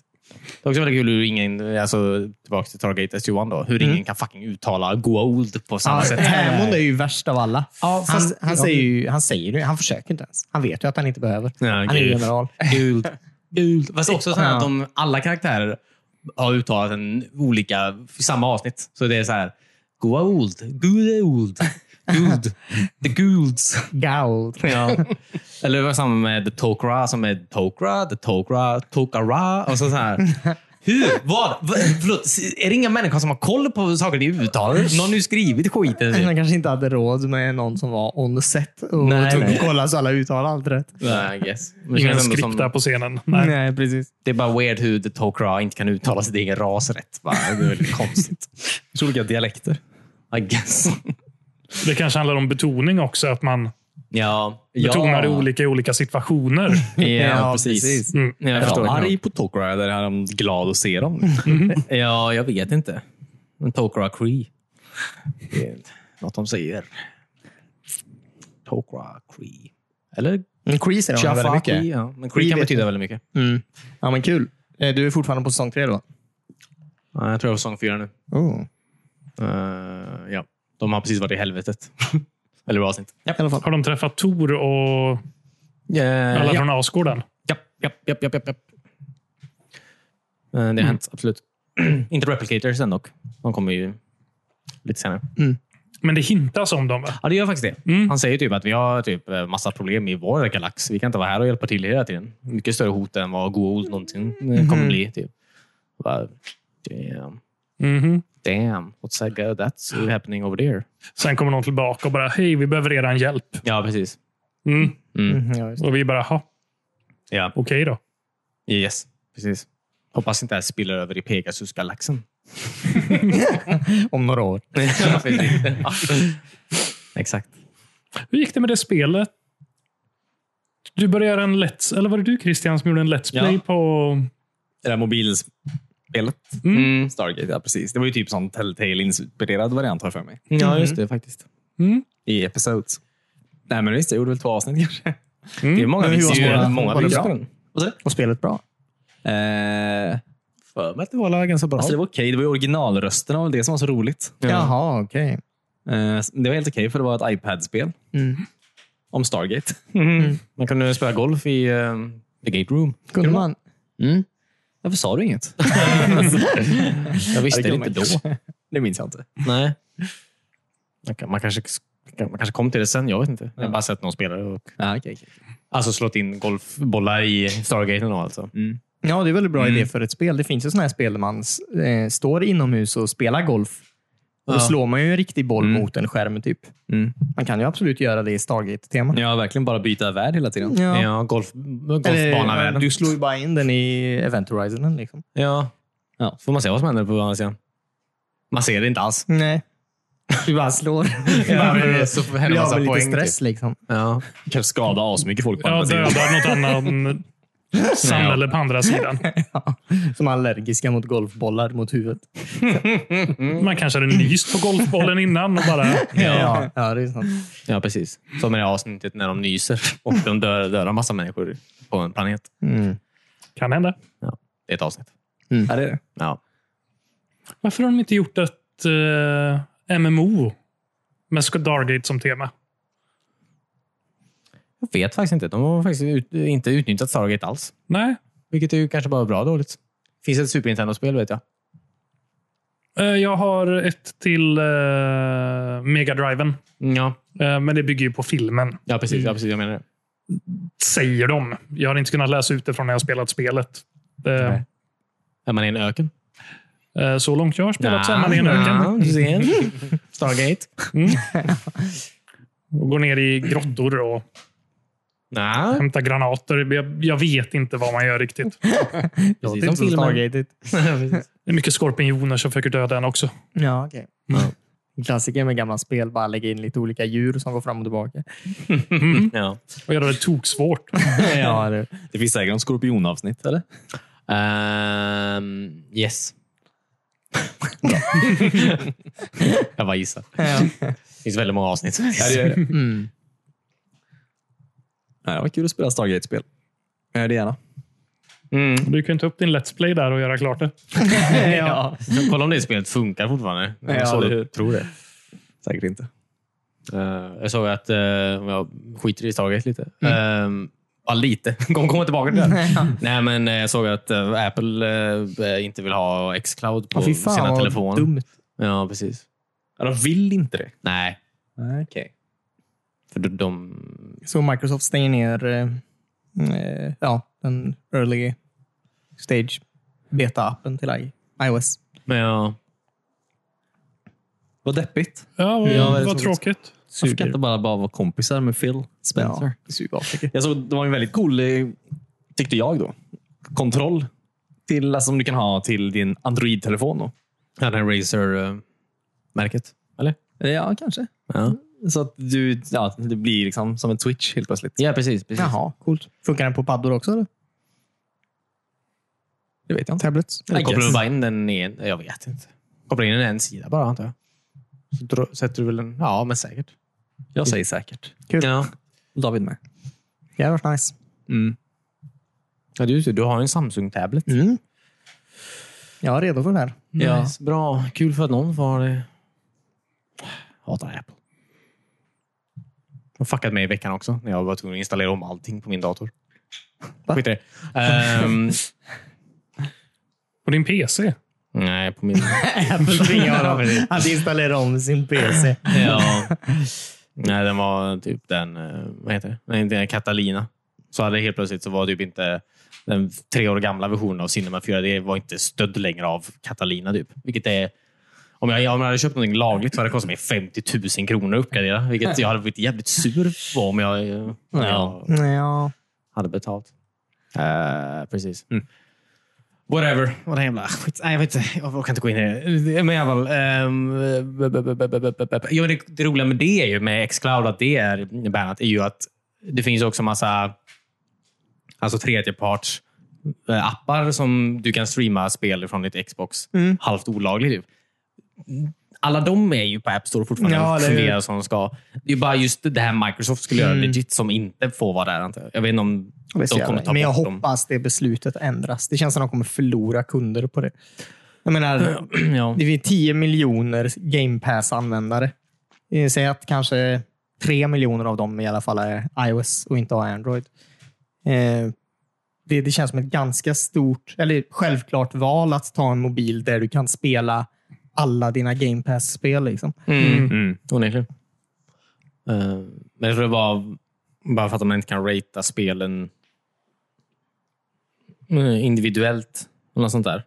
S7: Det är också väldigt kul hur ingen, alltså tillbaka till Stargate S21 då, hur ingen kan fucking uttala Goa'uld på samma
S2: Mm. Ja,
S7: sätt.
S2: Hammond är ju värst av alla.
S7: Ja, fast-
S2: han, han, säger ju, han säger ju, han försöker inte ens. Han vet ju att han inte behöver.
S7: Ja,
S2: Han är ju
S7: gud. <laughs>
S2: general. <laughs>
S7: Gult. Gult. Fast också så här
S2: Ja.
S7: att de, alla karaktärer har uttalat en olika, i samma avsnitt. Så det är så här, Goa'uld, Goa'uld,
S2: <laughs>
S7: Guld, The Goulds.
S2: Gauld.
S7: Ja. Eller det var samma med The Tokra som är Tokra, The Tokra, Tokara. Och så så <laughs> här. Hur? Vad? Va, förlåt, är det inga människor som har koll på saker i uttalet? Någon har ju skrivit skiten. typ.
S2: Han kanske inte hade råd med någon som var on set och
S7: Nej,
S2: tog
S7: nej.
S2: och kollade så alla uttal allt rätt.
S7: Nej, I guess. Men det
S3: Ingen
S7: känns ändå
S3: skripta
S7: som-
S3: på scenen. Nej.
S2: precis.
S7: Det är bara weird hur The Tokra inte kan uttala sitt egen ras rätt. Va? Det är <laughs> väldigt konstigt.
S1: Så olika dialekter.
S7: I <laughs> guess.
S3: Det kanske handlar om betoning också. Att man
S7: Ja.
S3: betonar det
S7: ja.
S3: olika i olika situationer.
S7: Ja,
S2: Ja,
S7: precis.
S2: precis.
S7: Mm. Ja,
S1: Jag
S7: jag
S1: är
S7: förstår.
S1: de
S7: Ja,
S1: arg på Tokra eller är de glad att se dem?
S7: <laughs> ja, jag vet inte. Men Tokra Cree. Det är Något de säger. Tokra Cree. Eller
S2: Men Cree säger han väldigt
S7: Jaffa
S2: mycket.
S7: Cree. Ja.
S2: Cree
S7: Men Cree kan
S2: vet
S7: betyda väldigt mycket.
S2: Mm. Ja, men kul. Eh, Du är fortfarande på säsong tre då?
S7: Ja, jag tror jag var säsong fyra nu.
S2: Oh.
S7: Eh, ja. De har precis varit i helvetet. <laughs> Eller bra avsnitt.
S2: I alla fall.
S3: Har de träffat Tor och alla
S7: Eh, ja.
S3: från Asgården?
S7: Japp, japp, japp, japp, japp, japp. Eh, Det har hänt, absolut. <clears throat> inte replicators än dock. De kommer ju lite senare.
S3: Men det hintas om dem, va?
S7: Ja, det gör faktiskt det.
S3: Mm.
S7: Han säger typ att vi har typ eh, massa problem i vår galax. Vi kan inte vara här och hjälpa till hela tiden. Mycket större hot än vad Goa'uld någonsin eh, kommer bli. Typ. Bara, damn, Mm-hmm.
S3: Mhm.
S7: damn. What's that go? That's happening over there.
S3: Sen kommer någon tillbaka och bara, hej, vi behöver redan hjälp.
S7: Ja, precis.
S3: Mm.
S2: Mhm, ja, just det.
S3: Och vi bara, ha,
S7: Ja,
S3: okej då.
S7: yes. Precis. Hoppas inte det här spiller över i Pegasus-galaxen.
S2: Om några år.
S7: Ja, precis. Ja. Exakt.
S3: Hur gick det med det spelet? Du började göra en Let's... Eller var det du Christian som gjorde en Let's
S1: Ja.
S3: Play på...
S1: Det där mobilspelet.
S7: Mm.
S1: Stargate, ja precis. Det var ju typ sån Telltale-inspirerad variant har jag för mig.
S7: Ja, just det faktiskt.
S3: Mm.
S1: I episodes. Nej, men visst. Jag gjorde väl två avsnitt <laughs> kanske.
S7: Det är många
S2: Men hur
S7: visste
S2: var
S7: ju.
S2: det?
S7: Många
S2: Var det
S7: visste
S2: bra?
S7: den.
S2: Och spelet bra?
S1: Eh,
S7: För mig att det var ganska bra.
S1: alltså det var okej. Det var ju originalrösterna och det som var så roligt.
S2: Jaha, okej.
S1: Eh, det var helt okej för det var ett iPad-spel. Om Stargate.
S7: Man kunde spela golf i eh, The Gate Room.
S2: Kunde man?
S1: Varför sa du inget?
S7: <laughs> Jag
S1: Ja,
S7: visste det
S1: kan
S7: inte
S1: man
S7: då.
S1: kanske. Det minns jag inte.
S7: Nej. Man, kan, man, kanske, man kanske kom till det sen. Jag vet inte. Jag har bara sett någon spelare och
S1: Ah, okay, okay.
S7: alltså slått in golfbollar i Stargate. Och alltså.
S2: Ja, det är väldigt bra idé för ett spel. Det finns ju sådana här spel där man eh, står inomhus och spelar golf. Och Då
S7: Ja.
S2: slår man ju en riktig boll
S1: Mm.
S2: mot en skärm. typ.
S1: Mm.
S2: Man kan ju absolut göra det i Stargate-tema.
S1: Jag har verkligen bara byta värld hela tiden.
S7: Ja. golf,
S2: Eller,
S7: golfbanavärlden.
S2: du slår ju bara in den i Event Horizonen. Liksom.
S7: Ja.
S1: Ja.
S7: Får man se vad som händer på andra sidan? Man ser det inte alls.
S2: Nej. Du bara slår.
S7: <laughs> Ja, men så händer
S2: Vi har
S7: massa
S2: väl lite
S7: poäng, typ.
S2: stress. Liksom.
S7: Ja.
S1: Kanske skada asmycket folk på
S3: Ja,
S1: andra sidan.
S3: dödar något annat samhälle på andra sidan.
S2: Ja. Som allergiska mot golfbollar mot huvudet.
S3: Man kanske hade nyst på golfbollen innan och bara...
S2: Ja, ja det är sant.
S7: ja, precis. Som i det här avsnittet när de nyser och de dör, dödar massa människor på en planet.
S2: Mm.
S3: Kan hända.
S7: Det är ett avsnitt.
S1: Ja, det är det.
S7: Ja.
S3: Varför har de inte gjort ett eh, MMO med Sk- Stargate som tema?
S7: Jag vet faktiskt inte. De har faktiskt ut, inte utnyttjat Stargate alls.
S3: Nej,
S7: Vilket är ju kanske bara bra dåligt. finns ett Super Nintendo-spel vet jag.
S3: Eh, jag har ett till eh, Mega Driven.
S7: Ja,
S3: Eh, men det bygger ju på filmen,
S7: ja, precis, ja, precis. Jag menar det.
S3: säger de. Jag har inte kunnat läsa ut det från när jag spelat spelet. Eh,
S7: Nej. Är man i en öken?
S3: eh, så långt jag har spelat så är man i en öken.
S7: <laughs> Ja, du ser. Stargate.
S3: Och går ner i grottor och
S7: Nej,
S3: hämtar granater. Jag, jag vet inte vad man gör riktigt.
S7: precis
S2: Låter
S7: som
S2: inte så
S7: filmen.
S2: Stargate.
S7: Precis.
S3: Det är mycket skorpioner som försöker döda en också.
S2: Ja, okej. Klassiker med gamla spel, bara lägga in lite olika djur som går fram och tillbaka.
S7: Mm. ja.
S3: Och göra det toksvårt.
S2: ja, det.
S1: Det finns säkert en skorpionavsnitt, eller?
S7: Ehm, yes. jag bara gissar.
S2: Ja.
S7: Det finns väldigt många avsnitt.
S1: Ja, det, är det.
S2: Mm.
S1: <laughs> Nej, det var kul att spela Stargate-spel. Jag gör det gärna.
S7: Mm.
S3: Du kan ju ta upp din Let's Play där och göra klart det.
S2: ja.
S7: Så Kolla om det spelet funkar fortfarande. Jag
S2: Ja,
S7: såg
S2: eller
S7: det.
S2: hur?
S7: tror det.
S1: Säkert inte.
S7: Eh, jag såg att, eh, om jag skiter i Stargate lite. Mm. ja, lite. <laughs> Kom, komma tillbaka till det. Nej, men eh, jag såg att eh, Apple eh, inte vill ha Xcloud på
S2: Åh, fy fan
S7: sina
S2: vad
S7: telefoner.
S2: dumt.
S7: Ja, precis.
S1: Ja, de vill inte det.
S7: Nej,
S1: Nej, okej.
S7: för de... de
S2: Så Microsoft stänger ner eh, eh, ja, den early stage beta-appen till i- iOS.
S7: men ja,
S1: Vad deppigt.
S3: Ja, vad,
S2: Ja, väldigt
S3: vad
S2: tråkigt.
S3: tråkigt.
S1: Varför kan inte bara, bara vara kompisar med Phil Spencer?
S2: Ja, Sydafrika.
S1: Jag såg, det var en väldigt cool, eh, tyckte jag då, kontroll till, alltså, som du kan ha till din Android-telefon. Då.
S7: ja, den Razer-märket. Eller?
S1: Ja, kanske.
S7: Ja,
S1: Så att du, ja, det blir liksom som en switch helt plötsligt.
S7: ja precis. precis.
S2: Jaha, coolt. Funkar den på paddor också? Eller?
S1: Det vet jag inte.
S2: Tablets?
S7: Eller
S1: I
S7: kopplar
S1: guess.
S7: du bara in den i en... Jag vet inte. Kopplar in den i en sida bara, antar jag. Så dra- sätter du väl en... Ja, men säkert.
S1: Jag säger säkert.
S2: Kul.
S7: Ja.
S1: David med.
S2: Det hade varit nice.
S7: Ja, du, du har ju en Samsung-tablet.
S2: Mm. Jag är redo för den här.
S7: Ja. Nice, bra. Kul för att någon får ha det. Hatar Apple. De har fuckat mig i veckan också. När jag var tvungen att installera om allting på min dator.
S2: Va?
S7: Skit i det. Ehm,
S3: På din PC.
S7: nej, på min...
S2: Apple tvingar <laughs> honom att installera om sin PC.
S7: <laughs> Ja. Nej, den var typ den... eh, Vad heter det? Nej, inte den Catalina. Så hade det helt plötsligt så var typ inte den tre år gamla versionen av Cinema 4 det var inte stödd längre av Catalina. Typ. Vilket är... Om jag, om jag hade köpt någonting lagligt så hade det kostat mig 50 000 kronor att uppgradera. Vilket jag hade blivit jävligt sur på om jag, eh, om jag
S2: Ja.
S7: hade betalt. Eh, precis. Whatever. Vad den jävla... Skit. Nej, jag vet inte. Jag orkar inte gå in i det. Men i alla fall. ehm, b- b- b- b- b- b- b- jo, men det, det roliga med det är ju med Xcloud, att det är bannat, är ju att det finns också massa alltså tredjeparts eh, appar som du kan streama spel ifrån ditt Xbox.
S2: Mm.
S7: Halvt olagligt. Typ. Alla de är ju på App Store fortfarande
S2: Ja,
S7: och
S2: eller hur? Mm.
S7: fungerar som de ska. Det är bara just det här Microsoft skulle göra legit som inte får vara där. antar jag. Jag vet inte om de kommer ta
S2: Men jag
S7: bort dem.
S2: hoppas det beslutet ändras. Det känns som att de kommer förlora kunder på det. Jag menar,
S7: <clears throat> ja.
S2: Det finns 10 miljoner Game Pass-användare. Eh, Säg att kanske 3 miljoner av dem i alla fall är iOS och inte har Android. Eh, Det, det känns som ett ganska stort, eller självklart val att ta en mobil där du kan spela alla dina Game Pass-spel. Liksom.
S7: Mm.
S1: Mm.
S7: Onekligen. Eh, men jag tror det var bara för att man inte kan ratea spelen eh, individuellt. Eller något sånt där.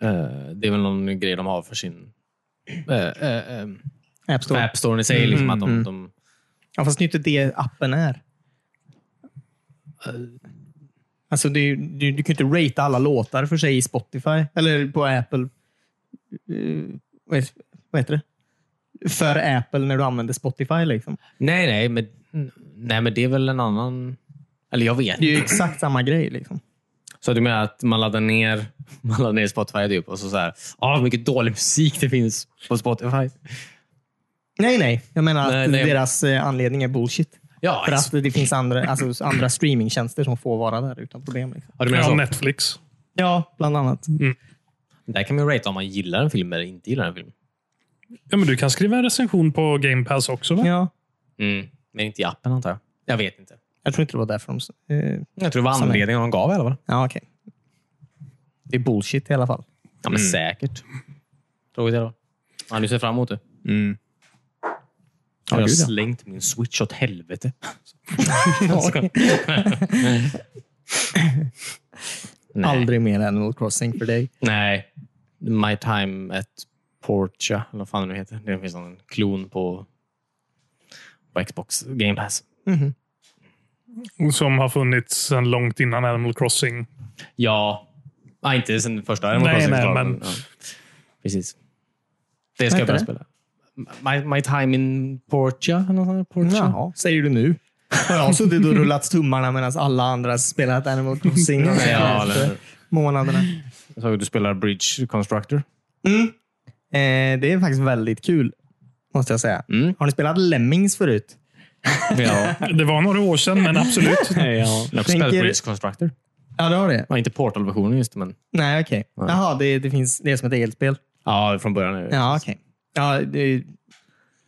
S7: Eh, det är väl någon grej de har för sin eh, eh, eh,
S2: App
S7: för
S2: Store.
S7: App Store i sig. Liksom, att
S2: Mm.
S7: de, de,
S2: Ja, fast det är inte det appen är. Alltså, det är- du, du kan ju inte ratea alla låtar för sig i Spotify eller på Apple. Eh, vad, heter, vad heter det? För Apple när du använder Spotify. Liksom.
S7: nej, nej men, nej, men det är väl en annan... Eller jag vet
S2: Det är ju exakt samma grej. Liksom.
S7: Så du menar att man laddar ner, <laughs> man laddar ner Spotify typ, och så så här, ah, vad mycket dålig musik det finns på Spotify.
S2: Nej, nej. Jag menar att
S7: Nej, nej.
S2: deras eh, anledning är bullshit.
S7: Ja,
S2: För att det finns andra, alltså, andra streamingtjänster som får vara där utan problem. Liksom.
S7: ja, du menar
S3: Ja,
S7: så.
S3: Netflix.
S2: Ja, bland annat.
S7: Mm. Där kan man ju rata om man gillar en film eller inte gillar en film.
S3: Ja, men du kan skriva en recension på Game Pass också, va?
S2: Ja.
S7: Mm. Men inte i appen antar jag. Jag vet inte.
S2: Jag tror inte det var därför de... Eh,
S7: Jag tror det var
S2: Som är-
S7: anledningen de gav i alla fall.
S2: ja, okej. Det är bullshit i alla fall.
S7: Ja, men säkert. Tråkigt eller? Ja, du ser fram emot det.
S1: Mm.
S7: Jag har
S2: gud, ja.
S7: slängt min switch åt <laughs> helvete. <laughs> Nej.
S2: Aldrig mer Animal Crossing för dig.
S7: Nej. My time at Portia, eller vad fan det nu heter. Det finns en klon på, på Xbox Game Pass.
S3: Som har funnits sedan långt innan Animal Crossing.
S7: Ja. Nej, inte sen första Animal
S3: Nej,
S7: Crossing.
S3: nej,
S7: såklart,
S3: men-
S7: Ja. Precis. Det ska
S2: Vad
S7: jag börja
S2: heter
S7: spela. My, my time in Portia. eller något sånt där, Portia.
S2: Jaha, säger du nu. Jag har suttit och rullat tummarna medan alla andra spelat Animal Crossing de
S7: Ja,
S2: senaste
S7: eller-
S2: månaderna.
S7: Jag såg att du spelar Bridge Constructor.
S2: Eh, det är faktiskt väldigt kul, måste jag säga.
S7: Mm.
S2: Har ni spelat Lemmings förut?
S7: <laughs> Ja.
S3: Det var några år sedan, men absolut.
S7: ja. Jag har också spelat
S2: Tänker-
S7: Bridge Constructor.
S2: Ja, det har det.
S7: Ja, inte Portal-versionen just men
S2: Nej, okej.
S7: Nej.
S2: Jaha, det, det, finns, det är som ett eget spel.
S7: ja, från början. Är det.
S2: Ja, okej. Ja, det,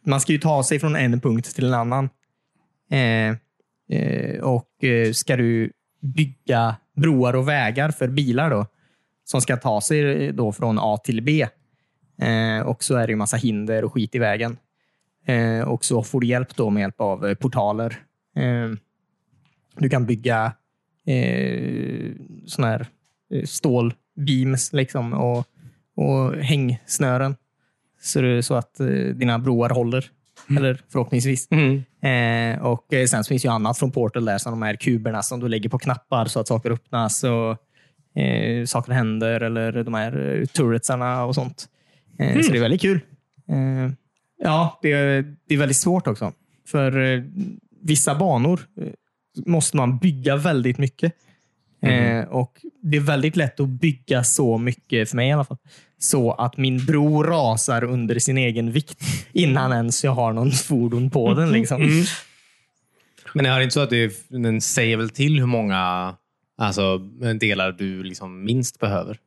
S2: man ska ju ta sig från en punkt till en annan. Eh, eh, och eh, ska du bygga broar och vägar för bilar då, som ska ta sig eh, då från A till B. Eh, och så är det ju massa hinder och skit i vägen. Eh, och så får du hjälp då med hjälp av eh, portaler. Eh, du kan bygga eh, såna här eh, stålbeams liksom, och, och hängsnören. Så, det, så att eh, dina broar håller. Eller förhoppningsvis.
S7: Mm.
S2: Eh, och eh, sen så finns ju annat från Portal där, som de här kuberna som du lägger på knappar så att saker öppnas och eh, saker händer eller de här eh, turretsarna och sånt. Eh, Så det är väldigt kul. Eh, ja, det är, det är väldigt svårt också. För eh, vissa banor eh, måste man bygga väldigt mycket. Eh, och Det är väldigt lätt att bygga så mycket, för mig i alla fall, så att min bro rasar under sin egen vikt innan ens jag har någon fordon på den. Liksom.
S7: Men är det inte så att det, den säger väl till hur många alltså, delar du liksom minst behöver?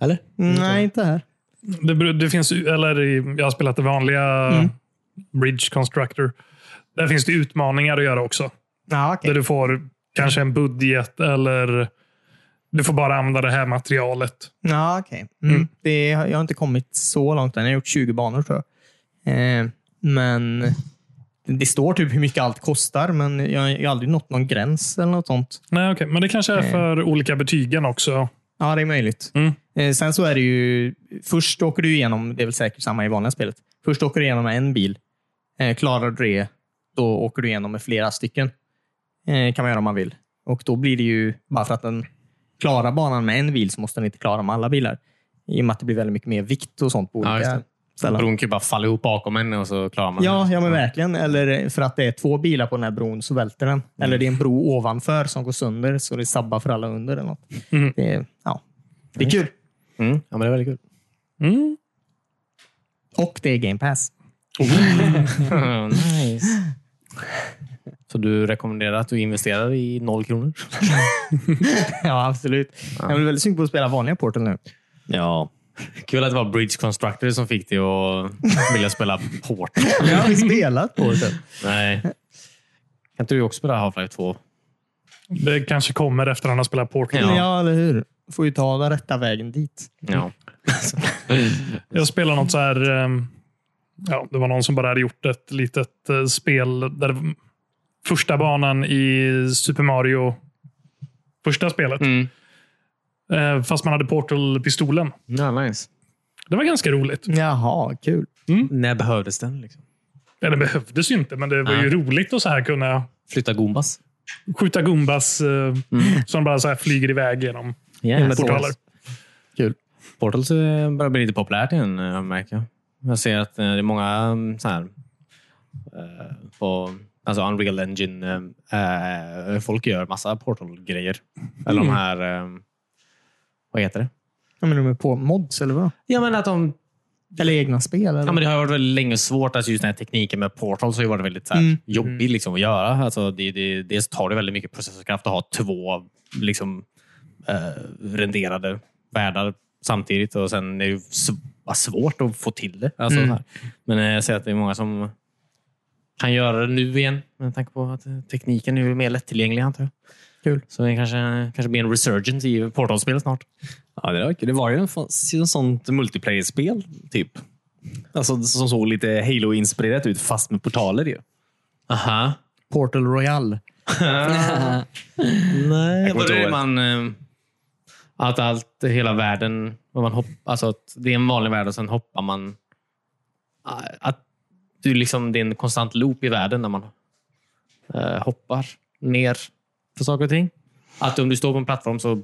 S7: Eller?
S2: Nej, inte här.
S3: Det, beror- det finns, ju- eller i- jag har spelat det vanliga Bridge Constructor. Där finns det utmaningar att göra också.
S2: Ja,
S3: Där du får kanske en budget eller du får bara använda det här materialet.
S2: Ja, okej. Mm. Det, jag har inte kommit så långt än. Jag har gjort 20 banor tror jag. Eh, men det står typ hur mycket allt kostar, men jag, har- jag har aldrig nått någon gräns eller något sånt.
S3: Nej, okej. Men det kanske är för olika betygen också.
S2: Ja, det är möjligt.
S3: Mm.
S2: Eh, sen så är det ju... Först åker du igenom, det är väl säkert samma i vanliga spelet. Först åker du igenom med en bil. Eh, klarar du det, då åker du igenom med flera stycken. Eh, kan man göra om man vill. Och då blir det ju, bara för att den klarar banan med en bil så måste den inte klara med alla bilar. I och med att det blir väldigt mycket mer vikt och sånt på
S7: Ja,
S2: olika
S7: just det.
S2: ställen.
S7: Bron kan ju bara falla ihop bakom en och så klarar man
S2: Ja,
S7: det.
S2: ja men verkligen. Eller för att det är två bilar på den här bron så välter den. Eller det är en bro ovanför som går sönder så det sabbar för alla under. Eller något.
S3: Mm.
S2: Det, är- ja. det är kul.
S7: Mm. Ja, men det är väldigt kul.
S3: Mm.
S2: Och det är Game Pass. <laughs>
S7: <laughs> nice. <laughs> Så du rekommenderar att du investerar i noll kronor?
S2: ja, absolut. Jag blir väldigt sugen på att spela vanliga Portal nu.
S7: Ja. Kul att det var Bridge Constructor som fick dig att vilja spela port. <laughs>
S2: Jag har aldrig spelat
S1: <laughs>
S2: Portal.
S7: Nej. Kan inte du också spela Half-Life 2?
S3: Det kanske kommer efter att han har spelat Portal.
S7: Ja.
S2: Ja. eller hur? Får ju ta den rätta vägen dit.
S7: Ja.
S3: Jag spelar något så här... ehm, Ja, det var någon som bara hade gjort ett litet eh, spel. Där det- första banan i Super Mario, första spelet.
S7: Mm.
S3: Eh, Fast man hade Portal-pistolen.
S7: ja nice.
S3: Det var ganska roligt.
S2: Jaha, kul.
S7: Mm. När behövdes den? Liksom?
S3: Ja, den behövdes ju inte, men det var ju
S7: Nej.
S3: roligt att så här kunna
S7: Flytta Goombas?
S3: skjuta gumbas eh,
S7: Mm.
S3: som bara så här flyger iväg genom
S7: Yes.
S3: portaler.
S2: Kul.
S7: Portals eh, börjar bli lite populärt igen, eh, märker jag. Jag ser att eh, det är många mm, så här, eh, på, alltså Unreal Engine. eh, eh, Folk gör massa Portal-grejer. Eller de här... eh, Vad heter det?
S2: Ja, men de är på mods, eller vad?
S7: Ja, men att de
S2: Eller egna spel? Eller?
S7: Ja, men det har varit väldigt länge svårt. Alltså just den här tekniken med Portals har ju varit väldigt så här,
S2: Mm.
S7: jobbig liksom, att göra. Alltså, det, det, dels tar det väldigt mycket processorkraft att ha två liksom, eh, renderade världar samtidigt och sen är det ju sv- bara svårt att få till det. Alltså,
S2: Mm.
S7: så här. Men eh, jag ser att det är många som kan göra det nu igen med tanke på att eh, tekniken är ju mer lättillgänglig antar jag.
S2: Kul.
S7: Så det kanske, kanske blir en resurgence i Portal-spel snart.
S1: Ja, det, var, det var ju en, en sånt multiplayer-spel, typ. Alltså, som såg lite Halo-inspirerat ut, fast med portaler. Ju.
S7: Aha.
S2: Portal Royale.
S7: Nej,
S1: Jag kommer
S7: var
S1: inte
S7: det
S1: ihåg.
S7: man... eh, Att allt, hela världen... vad Man hopp, alltså att det är en vanlig värld och sen hoppar man... Ah, Att du liksom, det är en konstant loop i världen när man eh, hoppar ner för saker och ting. Att om du står på en plattform så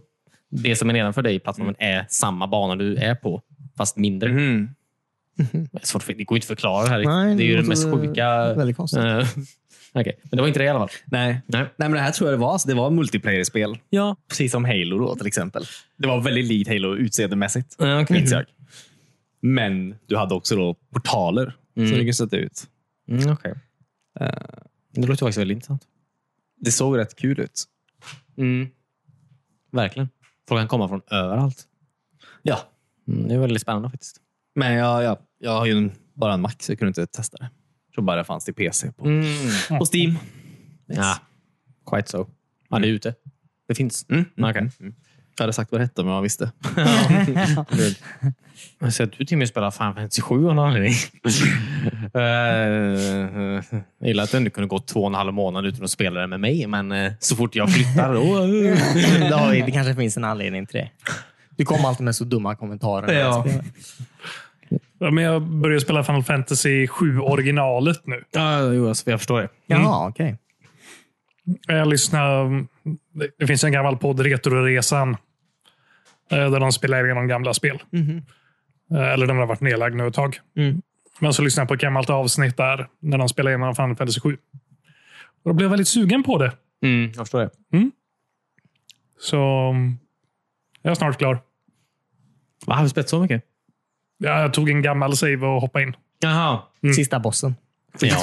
S7: det som är nedanför dig i plattformen är samma bana du är på, fast mindre.
S1: Mm-hmm.
S2: Mm.
S7: Det, är svårt, för- det går inte att förklara det här.
S2: Nej,
S7: det är ju
S2: det
S7: det mest
S2: låter
S7: sjuka...
S2: väldigt konstigt.
S7: Eh, <laughs> Okej, Men det var inte det i alla fall.
S1: Nej.
S7: Nej.
S1: Nej, men det här tror jag det var. Så det var multiplayer-spel.
S7: Ja.
S1: Precis som Halo då, till exempel. Det var väldigt likt Halo utseendemässigt.
S7: Eh, okej.
S2: Mhm.
S1: minns jag. Men du hade också då portaler som du kunde sätta ut.
S7: Mm, okay. det låter faktiskt väldigt intressant.
S1: Det såg rätt kul ut.
S7: Mm. Verkligen. Folk kan komma från överallt.
S1: Ja,
S7: Mm, det är väldigt spännande faktiskt.
S1: men jag, jag, jag har ju en- bara en Mac så jag kunde inte testa det. Så bara det fanns till PC på,
S2: Mm. <laughs>
S1: på Steam.
S7: Mm. Ja, quite so. Ja, det är ute. Det finns.
S1: Mm, mm,
S7: Okej.
S1: mm. Jag hade sagt vad det hette men jag
S7: <laughs>
S1: visste.
S7: Jag ser att du Timmy spelar Final Fantasy 7 av någon <laughs> anledning. Eh, eh, jag gillar att du ändå kunde gå två och en halv månad utan att spela det med mig, men eh, så fort jag flyttar då...
S2: det, har vi, det kanske finns en anledning till det. Du kommer alltid med så dumma kommentarer. när jag
S7: Ja.
S2: spelar.
S3: Ja, men jag börjar spela Final Fantasy 7 originalet nu.
S7: <laughs> Ja, jo, alltså, jag förstår det.
S2: Jaha, okej.
S3: Jag lyssnar, Eh, mm, det- det finns en gammal podd, Retroresan, eh, där de spelar igenom gamla spel. Eh, Eller den har varit nedlagd nu ett tag.
S2: Mm.
S3: Men så lyssnade jag på ett gammalt avsnitt där, när de spelar igenom Final Fantasy 7. Och då blev jag väldigt sugen på det.
S7: Mm, jag förstår det.
S3: Så mm, jag är snart klar.
S7: Va, har du spelat så mycket?
S3: Ja, Jag tog en gammal save och hoppade in.
S7: Jaha.
S2: Sista bossen.
S7: Ja.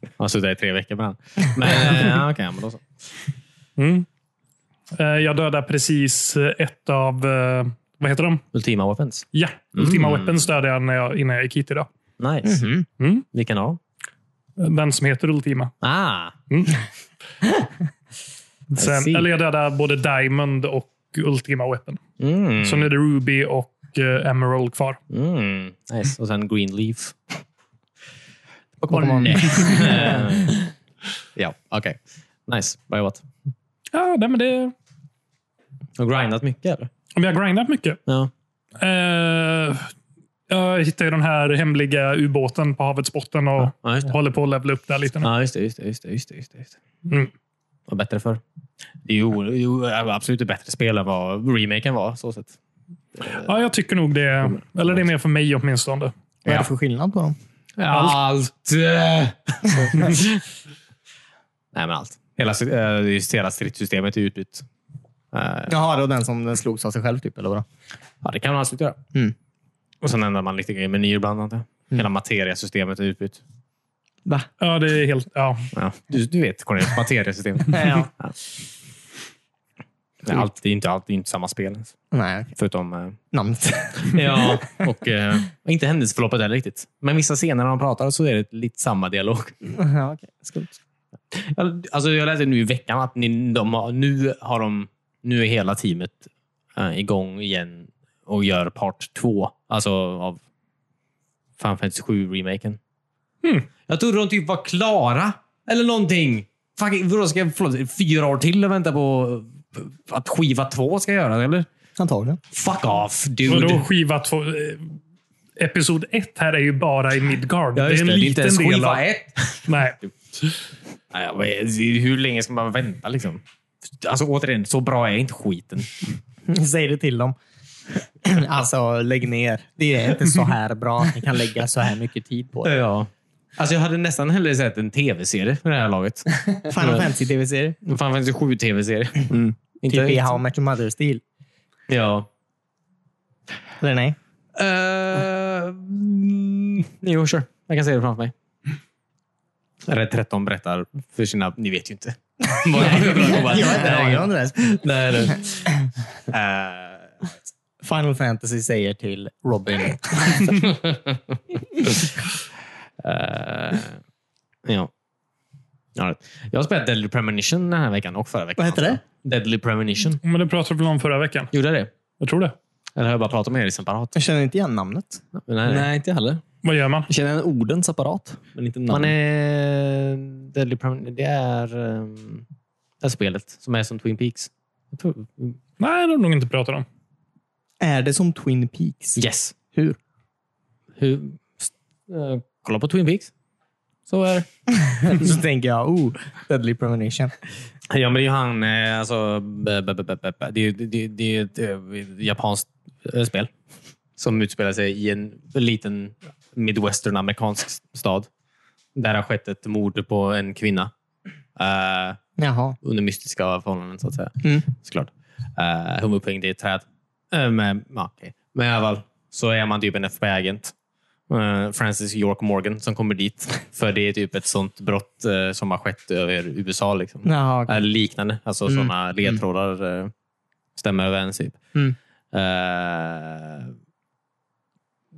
S7: Jag har suttit där i tre veckor med <laughs> han. Men, eh, ja, okej, men då så.
S3: Eh, Jag dödade precis eh, ett av, eh, vad heter de?
S7: Ultima Weapons.
S3: Ja, Ultima
S7: Mm.
S3: Weapons dödade jag, när jag innan jag gick hit idag.
S7: Nice.
S3: Mm.
S7: Vilken av?
S3: Den som heter Ultima.
S7: Ah, see.
S3: Sen, eller jag dödade både Diamond och Ultima Weapon.
S7: mm.
S3: Så nu är det Ruby och eh, Emerald kvar.
S7: Mm. Nice. Och sen Greenleaf.
S2: Pokémon.
S7: <laughs> ja, okej. Nice. Bra jobbat.
S3: Ja, nej, men det,
S7: Har du grindat mycket? Eller?
S3: vi har grindat mycket.
S7: Ja.
S3: Eh, jag hittar ju den här hemliga ubåten på havets botten och
S7: Ja, just det.
S3: håller på att levla upp där lite nu.
S7: Ja, just det. Just det, just det, just det, just det, just det.
S3: Mm.
S7: Vad bättre för. Det är ju o- jo, absolut ett bättre spel än vad remaken var. Så sett.
S3: Ja, jag tycker nog det. Eller det är mer för mig åtminstone.
S2: Vad är det för skillnad på dem?
S7: <laughs> Allt! Nej, men allt. Hela, sy- eh, just hela stridssystemet är utbytt. Eh,
S2: Jaha, det var den som den slogs av sig själv, typ, eller vadå?
S7: Ja, det kan man absolut göra.
S2: Mm.
S7: Och sen ändrar man lite grejer i menyer ibland. antar jag. Hela materiasystemet är utbytt.
S2: Va?
S3: Ja, det är helt... Ja.
S7: Ja. Du, du vet, Cornelius. <laughs> Materiasystemet.
S2: Ja.
S7: Det är alltid, inte, alltid, inte samma spel. ens.
S2: <laughs> Nej, okej.
S7: Förutom... Eh,
S2: Namnet.
S7: <laughs>
S2: <laughs>
S7: ja, och eh, inte händelseförloppet heller riktigt. Men vissa scener när de pratar så är det lite samma dialog.
S2: ja, okej. Skumt.
S7: Jag- Alltså, jag läste nu i veckan att ni, de har, nu, har de, nu är hela teamet eh, igång igen och gör part två alltså av Final Fantasy 7-remaken. Jag trodde de typ var klara eller någonting. Fucking, vadå, ska jag, förlåt, fyra år till och vänta på på att skiva två ska göras, eller?
S2: Antagligen.
S7: Fuck off, dude.
S3: Vadå skiva två? eh, Episod ett här är ju bara i Midgard.
S7: Ja, just
S3: det är en
S7: inte
S3: liten
S7: ens
S3: del
S7: skiva
S3: av...
S7: ett.
S3: Nej.
S7: Nej, jag vet- Hur länge ska man vänta liksom? Alltså återigen, så bra är inte skiten.
S2: <laughs> Säg det till dem. <clears throat> Alltså, lägg ner. Det är inte så här bra. Ni kan lägga så här mycket tid på det.
S7: Ja. Alltså jag hade nästan hellre sett en tv-serie med det här laget.
S2: <laughs> Final Fantasy-tv-serie.
S7: Fan, fanns det sju tv-serier? Inte
S2: Typ i
S7: riktigt.
S2: How I Met Your Mother-stil.
S7: Ja.
S2: Eller nej? Eh,
S7: Uh, mm, jo, sure. Jag kan se det framför mig. Eller 13 berättar för sina... Ni vet
S2: <laughs>
S7: ju inte.
S2: Jag är inte jag har inte ens-
S7: Nej, det.
S2: Final Fantasy säger till Robin.
S7: Eh, ja. Ja, Jag har spelat Deadly Premonition den här veckan och förra veckan.
S2: Vad heter det?
S7: Deadly Premonition.
S3: Men det pratade vi väl om förra veckan?
S7: Gjorde jag det?
S3: Jag tror det.
S7: Eller har jag bara pratat med er i separat?
S2: Jag känner inte igen namnet.
S7: Nej.
S1: Nej, inte jag heller.
S3: Vad gör man?
S1: Jag känner en orden separat, men inte namn.
S7: Man är... Deadly Premonition, det är ehm, det här spelet som är som Twin Peaks. Jag tror,
S3: Nej, det har vi nog inte pratat om.
S2: Är det som Twin Peaks?
S7: yes.
S2: Hur? <laughs>
S7: Hur, eh, kolla på Twin Peaks. Så är det.
S2: Så tänker jag, oh, Deadly Premonition.
S7: Ja, men det är ju han... eh, Alltså, b- b- b- b- b- b- det är ju det, det, det är ett eh, japanskt eh, spel som utspelar sig i en liten midwestern-amerikansk stad. Där har skett ett mord på en kvinna. Eh,
S2: Jaha.
S7: under mystiska förhållanden, så att säga.
S2: Mm.
S7: Såklart. Eh, hon var upphängd i ett träd. Eh, men, ja, okej. men i alla fall så är man typ en FBI-agent. Eh, Francis York Morgan som kommer dit. <laughs> För det är typ ett sånt brott eh, som har skett över USA. Liksom.
S2: Jaha, okej.
S7: Eh, liknande. Alltså sådana ledtrådar eh, stämmer överens. Typ.
S2: Mm.
S7: Eh,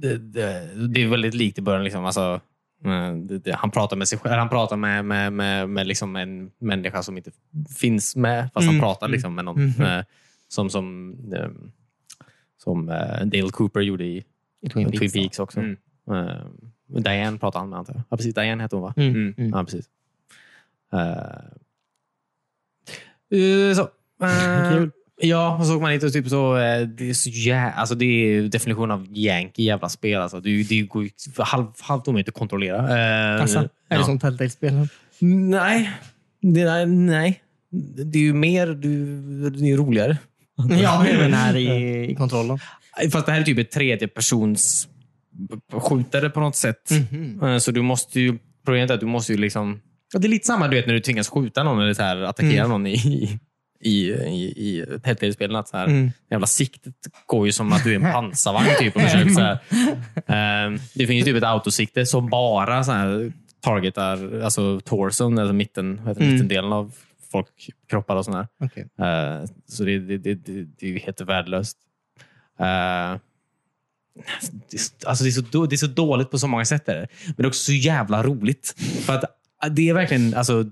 S7: det, det, det är väldigt likt i början. Liksom. Alltså, eh, det, det, han pratar med sig själv. Han pratar med, med, med, med liksom en människa som inte finns med. Fast
S2: Mm. Mm-hmm.
S7: han pratar liksom, med någon eh, som, som, ehm, som eh, Dale Cooper gjorde i
S2: I Twin Peaks.
S7: Twin Peaks också.
S1: Mm.
S7: Eh, Diane pratar han med antar jag. Ja, precis. Diane hette hon va?
S2: Mm.
S1: Mm.
S2: Mm.
S7: Ja, precis. Eh, eh, så.
S2: <laughs>
S7: Eh,
S2: Kul.
S7: Ja, och så åker man hit och typ så... eh, det är så jä- alltså det är definitionen av yankee jävla spel. Alltså. Det, är ju- det går ju för halv, halvt omöjligt att kontrollera. Eh,
S2: Alltså, är
S7: ja.
S2: det som Telltale-spelen? <laughs>
S7: Nej. Det, där, nej. Det är ju mer... du- Det är ju roligare.
S2: Ja, men här i, i kontrollen.
S7: Fast det här är typ ett tredjepersons skjutare på något sätt.
S2: Mhm.
S7: Eh, Så du måste ju... Problemet är att du måste ju liksom... Ja, det är lite samma du vet, när du tvingas skjuta någon eller så här, attackera
S2: Mm.
S7: någon i, i, i, i, i Telltale-spelen. att så här,
S2: Mm.
S7: Jävla siktet går ju som att du
S2: <laughs>
S7: är en pansarvagn. Typ, och försöker, så här. Eh, Det finns ju typ ett autosikte som bara så här, targetar alltså torson, alltså mitten, vad heter det,
S2: Mm.
S7: mittendelen av folk kroppar och sånt där.
S2: Okej. <laughs>
S7: Eh, så det, det, det, det, det är ju helt värdelöst. Eh, det, är så- alltså det, är så, då- det är så dåligt på så många sätt. Är det. Men det är också så jävla roligt. För att eh, det är verkligen alltså,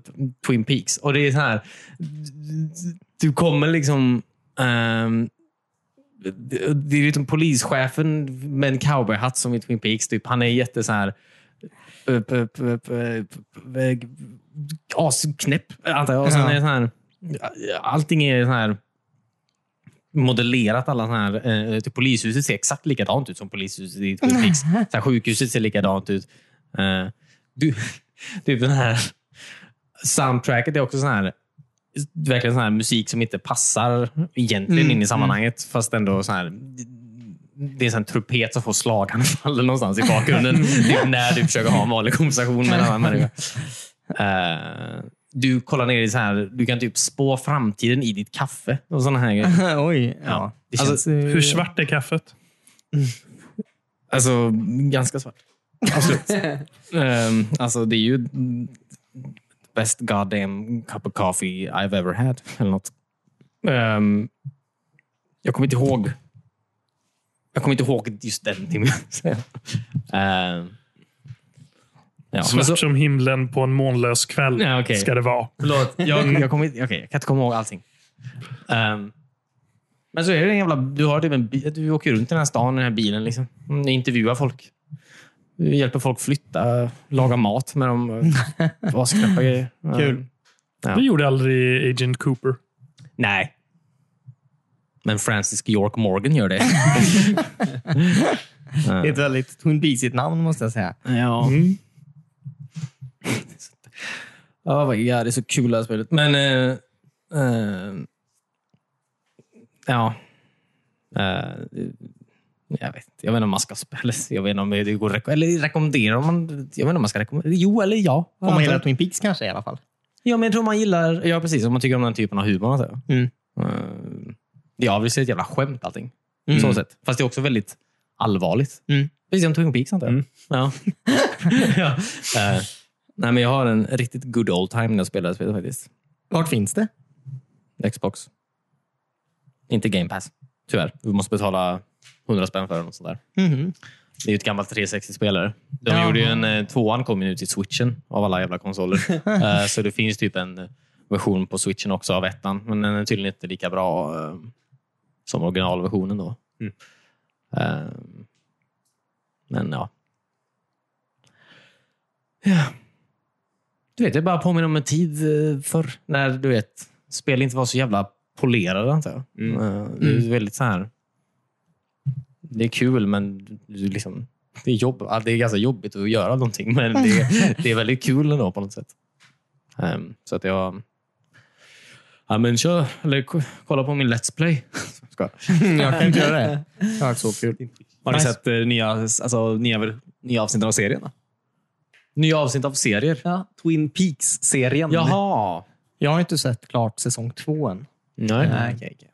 S7: Twin Peaks. Och det är så här... Du kommer liksom... ehm, det- det är liksom polischefen med en cowboyhatt som i Twin Peaks. Typ. Han är jätte så här... eh, p- p- p- p- p- eh, Asknäpp, antar jag. Och sen
S2: Ja.
S7: är det så här, allting är så här modellerat alla såna här... Eh, typ polishuset ser exakt likadant ut som polishuset i Twin Peaks. Så här, sjukhuset ser likadant ut. Eh, du, <laughs> typ den här soundtracket är också sån här verkligen sån här musik som inte passar egentligen in i sammanhanget. Fast ändå sån här... Det är en sån här trumpet som får <laughs> slaganfall någonstans i bakgrunden. typ när du försöker ha en vanlig konversation med en annan människa. Eh, du kollar ner i så här... Du kan typ spå framtiden i ditt kaffe. Och såna här grejer.
S2: Oj. Ja.
S7: Det
S2: Alltså,
S7: känns
S2: eh,
S3: Hur svart är kaffet?
S7: Alltså, ganska svart. Absolut. Ehm, alltså, det är ju mm, best goddamn cup of coffee I've ever had. Eller något. Ehm, jag kommer inte ihåg. Jag kommer inte ihåg just den timmen. <laughs> Ehm, ja, men
S3: Svart
S7: så-
S3: som himlen på en månlös kväll
S7: Ja, okej.
S3: ska det vara.
S7: Förlåt, jag, jag, kommer inte, okej, jag kan inte komma ihåg allting. Ehm, men så är det en jävla... Du, har typ en, bi- du åker runt i den här stan, i den här bilen. Liksom. Mm, Intervjuar folk. Du hjälper folk flytta, laga mat med <laughs> dem. Asknäppa grejer. Ehm,
S2: Kul.
S7: Ja.
S3: Det gjorde aldrig Agent Cooper.
S7: Nej. Men Francis York Morgan gör det.
S2: Det är ett väldigt Twin Peaksigt namn måste jag säga.
S7: ja.
S2: Mm.
S7: Oh my God, det är så kul det här spelet. Men... eh, eh, ja. Eh, jag, vet, jag vet inte om man ska spela. Jag vet inte om det går att reko- eller rekommendera. Om man, jag vet inte om man ska rekommendera. Jo eller ja.
S2: Om man gillar Twin Peaks kanske i alla fall.
S7: Ja, men jag tror man gillar... Ja, precis. Om man tycker om den typen av humor. Alltså.
S2: Mm.
S7: Mm. Eh, ja, det är ett jävla skämt allting. På Så sätt. Fast det är också väldigt allvarligt.
S2: Mm.
S7: Precis som Twin Peaks antar jag.
S1: Mm.
S7: Ja. <laughs> ja. Eh, nej, men jag har en riktigt good old time när jag spelar det här spelet faktiskt.
S2: Vart finns det?
S7: Xbox. Inte Game Pass, tyvärr. Vi måste betala 100 spänn för den. Och sånt där.
S2: Mhm. <laughs>
S7: Det är ju ett gammalt 360-spelare. De
S2: Jaha.
S7: gjorde ju en, eh, tvåan kom ju nu till switchen av alla jävla konsoler. Eh, så det finns typ en version på switchen också av ettan. Men den är tydligen inte lika bra eh, som originalversionen. Då. Eh, men ja. ja. Du vet, det bara påminner om en tid eh, förr när du vet, spel inte var så jävla polerade. Antar jag. Eh, det är väldigt så här det är kul, men du- du liksom, det, är jobb, ja, det är ganska jobbigt att göra någonting. Men det,
S1: <laughs>
S7: det är väldigt kul ändå på något sätt. Ehm, så att jag... Ja, men kör, eller k- kolla på min Let's Play. <laughs> Ska. jag?
S2: Jag kan inte göra
S7: <laughs>
S2: det. Det var så kul.
S1: Har ni
S7: Nice.
S1: sett eh, nya, alltså, nya, ver- nya avsnitt av serien? då?
S7: Nya avsnitt av serier.
S1: Ja, Twin Peaks-serien.
S7: Jaha!
S2: Jag har inte sett klart säsong två än.
S7: Nej.
S1: Nej, okej, okej.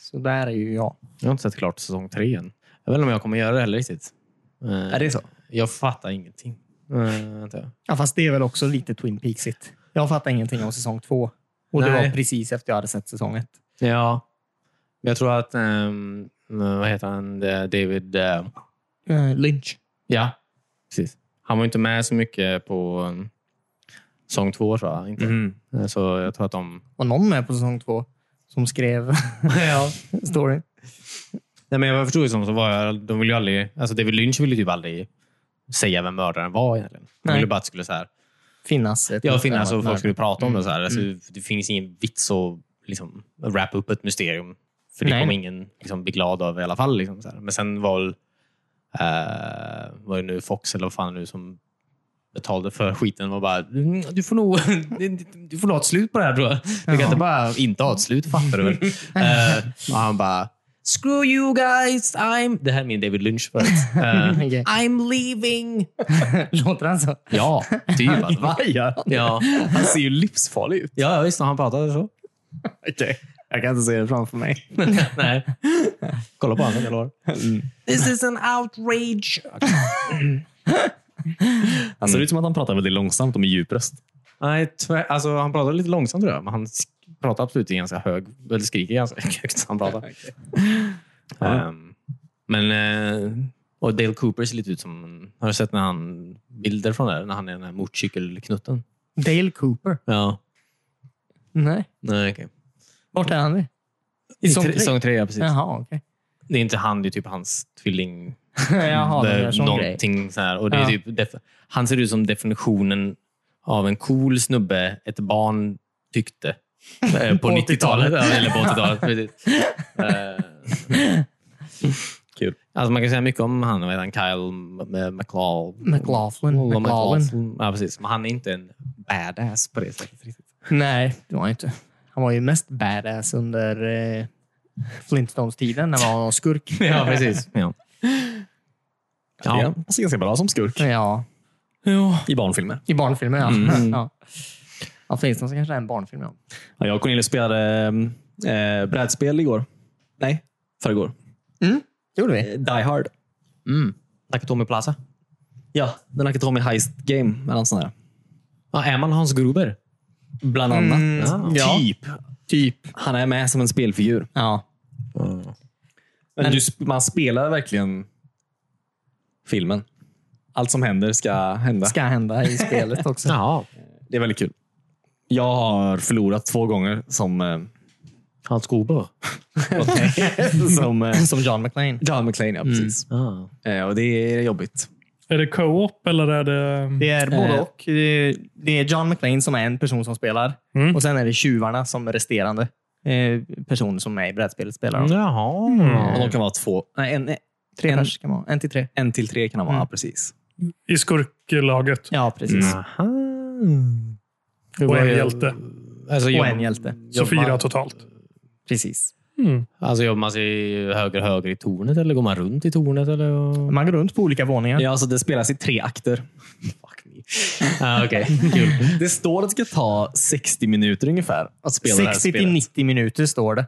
S2: Så där är ju jag.
S7: Jag har inte sett klart säsong tre än. Jag vet inte om jag kommer göra det heller riktigt. Eh,
S1: Är det så?
S7: Jag fattar ingenting. Eh, antar jag.
S2: Ja, fast det är väl också lite Twin Peaksigt. Jag fattar ingenting om säsong två. Och det
S7: Nej.
S2: var precis efter jag hade sett säsong ett.
S7: Ja. Jag tror att... ehm, vad heter han? Det- David... eh,
S2: Eh, Lynch.
S7: Ja, precis. Han var ju inte med så mycket på um, sång två, tror jag. Inte.
S1: Mhm.
S7: Eh, Så jag tror att de...
S2: Var någon med på säsong två som <laughs> skrev
S7: ja.
S2: storyn?
S7: Nej, men jag förstod det som så var jag, de ville ju aldrig... Alltså David Lynch ville ju typ aldrig säga vem mördaren var egentligen. Han
S2: Nej.
S7: ville bara att det skulle så här...
S2: Finnas. ett-
S7: Ja, finnas och
S2: Nej.
S7: folk skulle prata om det. Så här. Alltså, Det finns ingen vits att liksom, wrap upp ett mysterium. För det
S2: Nej.
S7: kommer ingen liksom, bli glad av i alla fall. Liksom, så här. Men sen var väl eh, var det nu Fox eller vad fan nu som betalade för skiten och bara "Mm, du får, nog, <laughs> du får nog ha ett slut på det här tror jag. Du kan
S2: Jaha.
S7: inte bara inte ha ett slut, fattar <laughs> du väl? Eh, och han bara Screw you guys, I'm... Det här är min David Lynch. För att, <laughs> eh,
S2: Okej. <laughs>
S7: I'm leaving!
S2: Låter han så?
S7: Ja, typ. alltså, va? <laughs> Ja.
S1: Han ser ju livsfarlig ut.
S7: Ja, ja, visst. Han pratade så.
S2: Jag kan inte se det framför mig.
S7: Nej. <laughs> Kolla på honom, jag lovar.
S1: Mm.
S7: This is an outrage.
S1: <laughs> Han ser ut som att han pratar väldigt långsamt och med djup röst.
S7: Nej, tvär, alltså, han pratar lite långsamt tror jag, men han sk- pratar absolut i ganska hög, eller skriker ganska <laughs> högt när
S1: <laughs>
S7: han pratar. Ehm, men, eh, och Dale Cooper ser lite ut som, en- har du sett när han, bilder från det, här, när han är den här motorcykelknutten?
S2: Dale Cooper?
S7: Ja.
S2: Nej.
S7: Nej, okej.
S2: Vart är han nu?
S7: I
S2: Säsong
S7: tre-
S2: tre?
S7: säsong tre, ja precis.
S2: Jaha, okej. <laughs>
S7: Det är inte han, det är typ hans tvilling.
S2: Jaha,
S7: Det-
S2: de gör sån grej.
S7: någonting så här. Och det är
S2: Ja.
S7: typ def- han ser ut som definitionen av en cool snubbe ett barn tyckte. Eh,
S2: På
S7: på
S2: 80-talet.
S7: 90-talet. Ja, eller på 80-talet. precis. Eh,
S1: Kul.
S7: Alltså man kan säga mycket om han, vad heter han Kyle M- M- McLaughlin.
S2: McLaughlin. McLaughlin.
S7: Ja, precis. Men han är inte en badass på det sättet. riktigt.
S2: Nej, det var han inte. Han var ju mest badass under eh, Flintstones-tiden när han var <laughs> skurk.
S7: Ja, precis. <laughs> Ja.
S1: Ja.
S7: Ja.
S1: Han ser ganska bra som skurk
S2: Ja,
S7: Ja.
S1: i barnfilmer.
S2: i barnfilmer ja. ja. ja Flintstones kanske är en barnfilm. Ja.
S1: Ja, jag och Cornelius spelade eh, brädspel igår. Nej, förrgår.
S2: gjorde vi.
S1: Eh, Die Hard.
S7: Mm. Nakatomi Plaza.
S1: Ja, den Akatomi Heist Game. Eller något sånt där.
S7: Ja, är man Hans Gruber?
S1: Bland annat.
S7: Ja.
S2: Mm, Ja.
S1: Typ.
S2: Typ.
S1: Han är med som en spelfigur.
S2: Ja.
S1: Men du, sp- man spelar verkligen filmen. Allt som händer ska hända.
S2: Ska hända i <laughs> spelet också.
S7: Jaha.
S1: Det är väldigt kul. Jag har förlorat två gånger som, <laughs> eh,
S7: Hans Gruber?
S1: som eh,
S2: Som John McClane.
S1: John McClane. Ja, precis.
S7: Ja.
S1: Eh, och det är jobbigt.
S3: Är det co-op eller är det... um,
S2: Det är både
S1: Eh.
S2: och. Det är- Det är John McClane som är en person som spelar.
S3: Mm.
S2: Och sen är det tjuvarna som resterande eh, personer som är i brädspelet spelar. de.
S7: Jaha.
S1: Mm. Och de kan vara två. Nej, en,
S2: Mm. Tre pers kan vara. En till tre. Mm.
S1: en till tre kan de vara. Ja, precis.
S3: I skurklaget?
S2: Ja, precis.
S7: Aha.
S3: Och en hjälte.
S7: Alltså,
S2: Och
S7: jobb-
S2: en hjälte.
S3: Så
S7: jobbar-
S3: fyra totalt.
S2: Precis.
S3: Mm.
S7: Alltså jobbar man sig höger höger i tornet eller går man runt i tornet? Eller?
S2: Man går runt på olika våningar.
S1: Ja, så det spelas i tre akter. <laughs>
S7: Fuck me. Ah, Okej, kul.
S1: Det står att det ska ta 60 minuter ungefär att spela det här
S2: 60 till
S1: spelet.
S2: 90 minuter står det.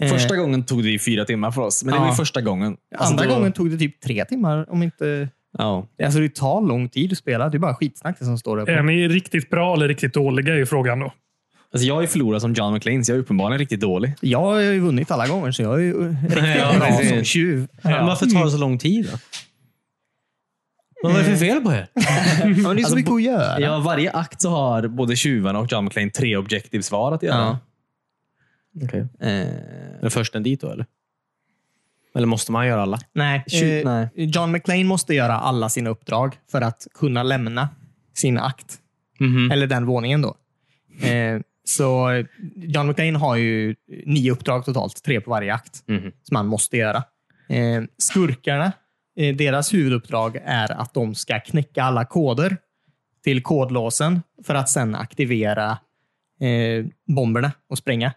S2: Eh,
S1: Första gången tog det ju fyra timmar för oss, men det
S2: Ja.
S1: var ju första gången.
S2: andra
S1: det var-
S2: gången tog det typ tre timmar. Om inte...
S1: Ja.
S2: Alltså det tar lång tid att spela. Det är bara skitsnack det som står där.
S3: Är
S2: På.
S3: ni riktigt bra eller riktigt dåliga är ju frågan då.
S1: Alltså jag har ju förlorat som John McLean, så jag är uppenbarligen riktigt
S2: <laughs>
S1: dålig.
S2: Jag har ju vunnit alla gånger, så jag är ju riktigt
S7: Ja,
S2: bra
S7: precis.
S2: som tjuv.
S7: Men varför tar det så lång tid? Då? Vad är det för fel på er?
S2: Alltså, Ja, men det är så mycket att göra.
S1: Ja, varje akt så har både tjuvarna och John McLean tre objectives var att göra.
S7: Okay.
S1: Eh,
S7: Men först en dit då, eller? Eller måste man göra alla?
S2: Nej,
S1: Tju-
S2: eh,
S1: nej.
S2: John McClane måste göra alla sina uppdrag för att kunna lämna sin akt. Eller den våningen då. Eh, så eh, John McClane har ju nio uppdrag totalt, tre på varje akt,
S7: Mhm.
S2: som han måste göra. Eh, skurkarna, eh, deras huvuduppdrag är att de ska knäcka alla koder till kodlåsen för att sen aktivera eh, bomberna och spränga.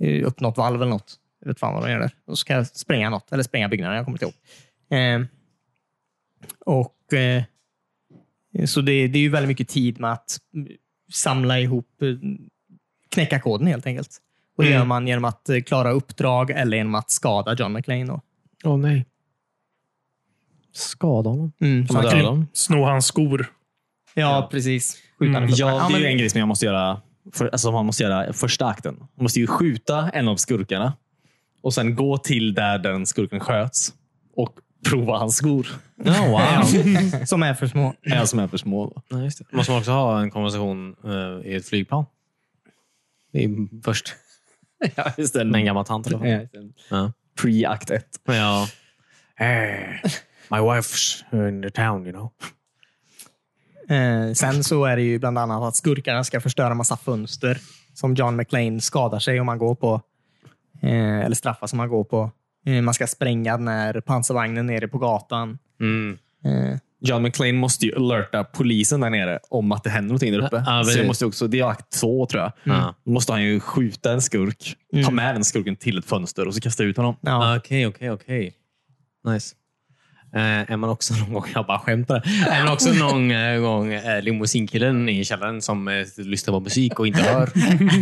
S2: Eh, upp något valv eller något. Jag vet fan vad de gör där. De ska spränga något, eller spränga byggnaden. Jag kommer inte ihåg. Eh, och, eh, så det, det är ju väldigt mycket tid med att mm, samla ihop, eh, knäcka koden helt enkelt. Och
S1: Mm.
S2: Det gör man genom att eh, klara uppdrag eller genom att skada John McClane. Då.
S7: Åh nej. Skada honom.
S2: Mm,
S7: man
S2: så-
S7: döda dem?
S3: Typ Sno hans skor.
S2: ja, precis. Skjuta
S3: Mm.
S2: den först.
S1: Ja, det är
S2: men-
S1: ju en grej som jag måste göra. För, alltså man måste göra första akten. Man måste ju skjuta en av skurkarna och sen gå till där den skurken sköts och prova hans skor. <laughs>
S7: Oh,
S2: <laughs>
S7: wow.
S2: Som är för små.
S1: En som är för små. Då.
S7: nej, just det. Måste man också ha en konversation eh, i ett flygplan? Det är <laughs> först.
S1: Ja, just det.
S7: Med en gammal tant eller vad?
S1: Ja, just det.
S7: Ja.
S1: Pre-akt 1.
S7: Ja. Eh, My wife's in the town, you know.
S2: Eh, sen så är det ju bland annat att skurkarna ska förstöra massa fönster som John McClane skadar sig om man går på. Eh, eller straffas om man går på. Eh, man ska spränga den här pansarvagnen nere på gatan. <laughs>
S7: Mm.
S2: Eh,
S1: John McClane måste ju alerta polisen där nere om att det händer någonting där uppe.
S7: Ja,
S1: så
S7: precis.
S1: det, måste ju också, det är akt två tror jag.
S7: Ja.
S1: Då måste han ju skjuta en skurk, ta
S2: Mm.
S1: med den skurken till ett fönster och så kasta ut honom.
S2: ja.
S7: Ah, Okej, okej, okej. Nice. Eh, är man också <laughs> någon gång, jag bara skämtar, är man också någon eh, gång eh, limousinkillen i källaren som eh, lyssnar på musik och inte hör?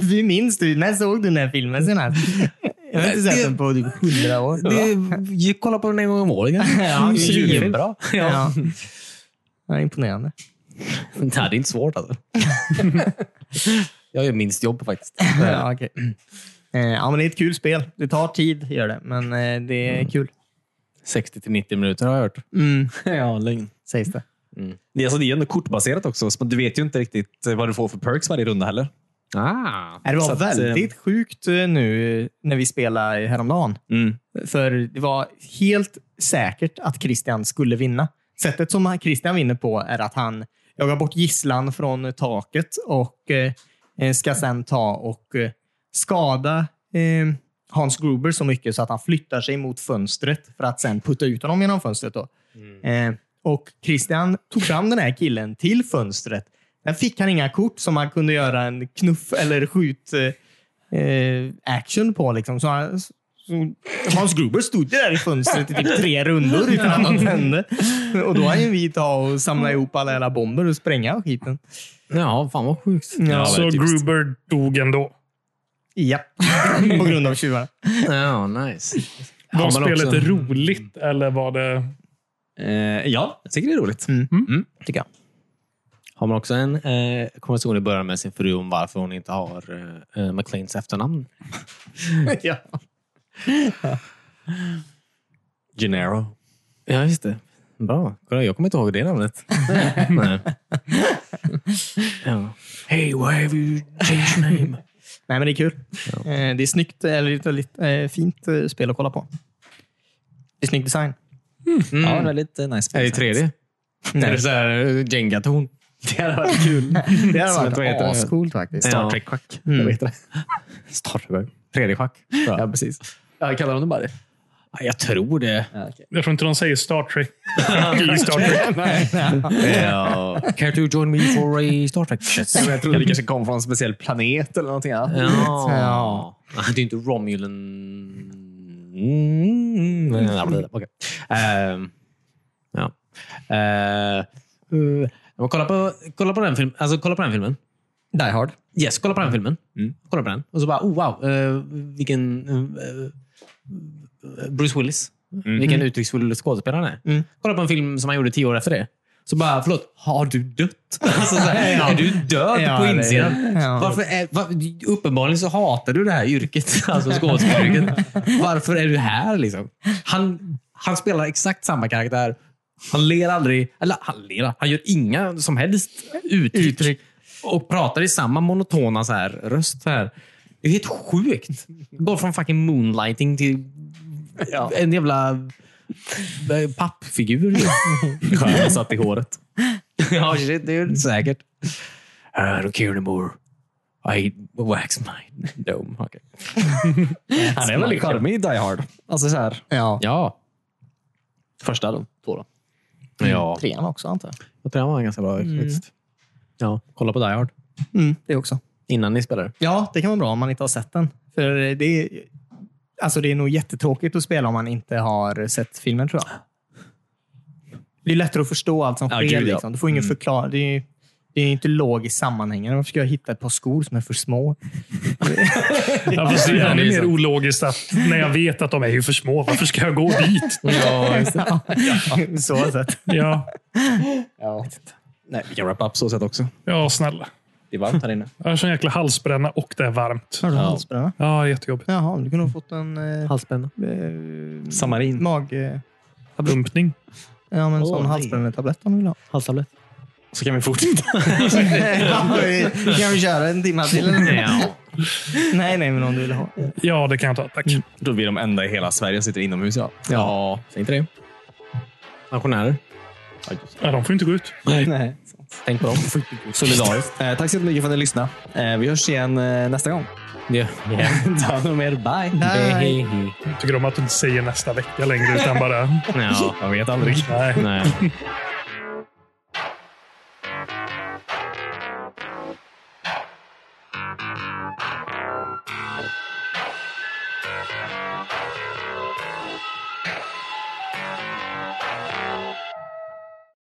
S2: Vi minns du? När såg du den här filmen senast? Jag har inte sett den på typ hundra år.
S7: Det, kolla på den en gång om <laughs> året.
S2: Ja,
S7: Julfilm.
S2: bra. Ja. Ja, imponerande.
S7: <laughs> Det här är inte svårt alltså. jag gör minst jobb faktiskt.
S2: Ja, okej. Eh, ja, men det är ett kul spel. Det tar tid, gör det. men eh, det
S1: Mm.
S2: är kul.
S7: 60 till 90 minuter har jag hört. <laughs>
S2: Mm,
S1: Ja, lögn.
S2: sägs det.
S1: Det är, alltså, det är ändå kortbaserat också, så du vet ju inte riktigt
S7: eh,
S1: vad du får för perks varje runda heller.
S7: Ah.
S2: Nej, Det var
S1: Så att, eh,
S2: väldigt sjukt eh, nu eh, när vi spelade häromdagen. För det var helt säkert att Christian skulle vinna. Sättet som han- Christian vinner på är att han jagar bort gisslan från taket och eh, ska sen ta och eh, skada eh, Hans Gruber så mycket så att han flyttar sig mot fönstret för att sen putta ut honom genom fönstret. Då. Eh, och Christian tog fram den här killen till fönstret. Där fick han inga kort som han kunde göra en knuff eller skjut eh, eh, action på. Liksom. Så han, så Hans Gruber stod ju där i fönstret i typ tre rundor utan att något hände. Och då hann ju vi ta och samla ihop alla jävla bomber och spränga skiten.
S7: Ja, typ- fan vad sjukt.
S2: Ja,
S3: så
S1: väldigt typiskt.
S3: Gruber dog ändå.
S2: Japp. På grund av tjuvarna.
S7: Ja, nice.
S3: Var
S7: men
S3: spelet
S7: också-
S3: roligt eller var det...
S1: Eh, ja, jag tycker det är roligt.
S2: Mm. Tycker jag.
S7: Har man också en eh, konversation i början med sin fru om varför hon inte har eh, McLeans efternamn?
S2: Ja.
S1: Genero.
S7: Ja, just det. Bra. Kolla, jag kommer inte ihåg
S1: <laughs>
S7: det namnet. Nej. Ja. Hey, why have you changed your name?
S2: Nej, men det är kul. Eh, Det är snyggt, eller ett väldigt eh, fint eh, spel att kolla på. Det är snygg design.
S1: Ja, väldigt eh, nice.
S7: Mm. Är det 3D? Nej. Är det så här eh, Jenga-torn?
S1: Det hade varit
S7: <laughs>
S1: kul.
S2: Det hade
S1: Som ett- vad
S2: varit
S1: heter det?
S2: ascoolt faktiskt.
S7: Ja.
S1: Star Trek-schack.
S2: Mm.
S1: Jag vet det.
S7: 3D-schack?
S1: Ja, precis. Ja, kallar de det bara det?
S7: Ja, Jag tror det.
S1: Ja,
S3: Jag tror inte de säger Star Trek. I Star Trek.
S7: Ja. Care to join me for a Star Trek?
S1: Jag trodde det kanske kom från en speciell planet eller någonting annat.
S7: Ja. Det är inte Romulan... Mm. nej, Okej. Ehm, ja. Eh, eh, men kolla, på, kolla på den filmen. Alltså, kolla på den filmen.
S2: <laughs> Die Hard.
S7: Yes, kolla på den filmen.
S1: Mm.
S7: Kolla på den. Och så bara, oh, wow, eh, vilken... eh, Bruce Willis.
S1: Mm.
S7: Vilken uttrycksfull skådespelare han är.
S2: Mm.
S7: Kolla på en film som han gjorde tio år efter det. Så bara, förlåt, har du dött? <laughs> Alltså, så här,
S2: Ja.
S7: Är du död
S2: Ja,
S7: på
S2: det-
S7: insidan?
S2: ja.
S7: Varför är, va, uppenbarligen så hatar du det här
S1: <laughs>
S7: yrket, alltså skådespelaryrket. Varför är du här? Liksom? Han, han spelar exakt samma karaktär. Han ler aldrig. Eller han ler. Han gör inga som helst uttryck.
S2: Uttryck.
S7: Och pratar i samma monotona så här, röst. Så här. Det är helt sjukt. Går från fucking moonlighting till en jävla eh, pappfigur.
S1: Skön satt i håret.
S7: ja, shit, det är det säkert. I don't care anymore. I wax my dome. Okay.
S1: <laughs> Han är väldigt charmig i Die Hard. Alltså så här.
S2: Ja.
S7: Ja.
S1: Första då. Två då.
S7: Ja.
S2: Trean också antar jag.
S7: Jag tror han var ganska bra faktiskt. Ja, kolla på Die Hard.
S2: Mm, det också.
S7: Innan ni spelar.
S2: Ja, det kan vara bra om man inte har sett den. För det är, alltså det är nog jättetråkigt att spela om man inte har sett filmen, tror jag. Det är lättare att förstå allt som
S1: Ja,
S2: sker.
S1: gud, ja.
S2: liksom. Du får ingen
S7: Mm.
S2: förklaring. Det är ju det är ju inte logiskt sammanhängande. Varför ska jag hitta ett par skor som är för små?
S3: Ja, fast det
S7: Ja,
S3: är ännu
S7: det
S3: mer
S7: är sant.
S3: ologiskt att när jag vet att de är ju för små, varför ska jag gå dit?
S7: Ja, just det.
S2: <laughs> Ja, så sett.
S3: Ja,
S2: Ja.
S1: Nej, vi kan wrap up så sätt också.
S3: ja snälla.
S1: Det är varmt här inne.
S3: Jag har sån jäkla halsbränna och det är varmt.
S2: Har du
S1: Ja.
S2: halsbränna?
S3: Ja, jättejobbigt.
S2: Jaha, du kunde ha fått en eh,
S7: Halsspänna.
S2: eh,
S1: Samarin.
S2: mag... Eh,
S3: Dumpning.
S2: ja, men en
S7: Åh,
S2: sån
S7: nej.
S2: halsbrännetablett om du
S7: <laughs>
S2: vill ha.
S7: Halstablett.
S1: Så kan vi <laughs> fortsätta.
S2: kan vi köra en timme till?
S7: Ja.
S2: Nej, nej, men om du vill ha.
S3: Ja, det kan jag ta. Tack.
S1: Då är vi de enda i hela Sverige som sitter inomhus idag.
S7: ja, säg inte det. Pensionärer.
S3: Ja, de får inte gå ut.
S1: Nej. <laughs>
S7: Tänk på dem. Solidariskt.
S1: Eh, tack så mycket för att ni lyssnade. Eh, vi hörs igen eh, nästa gång.
S7: Ja.
S1: <laughs> Ta hand om er. Bye.
S2: Nej.
S3: Jag tycker om att du inte säger nästa vecka längre, utan bara...
S7: Ja,
S1: Jag vet aldrig.
S3: Nej.
S7: nej.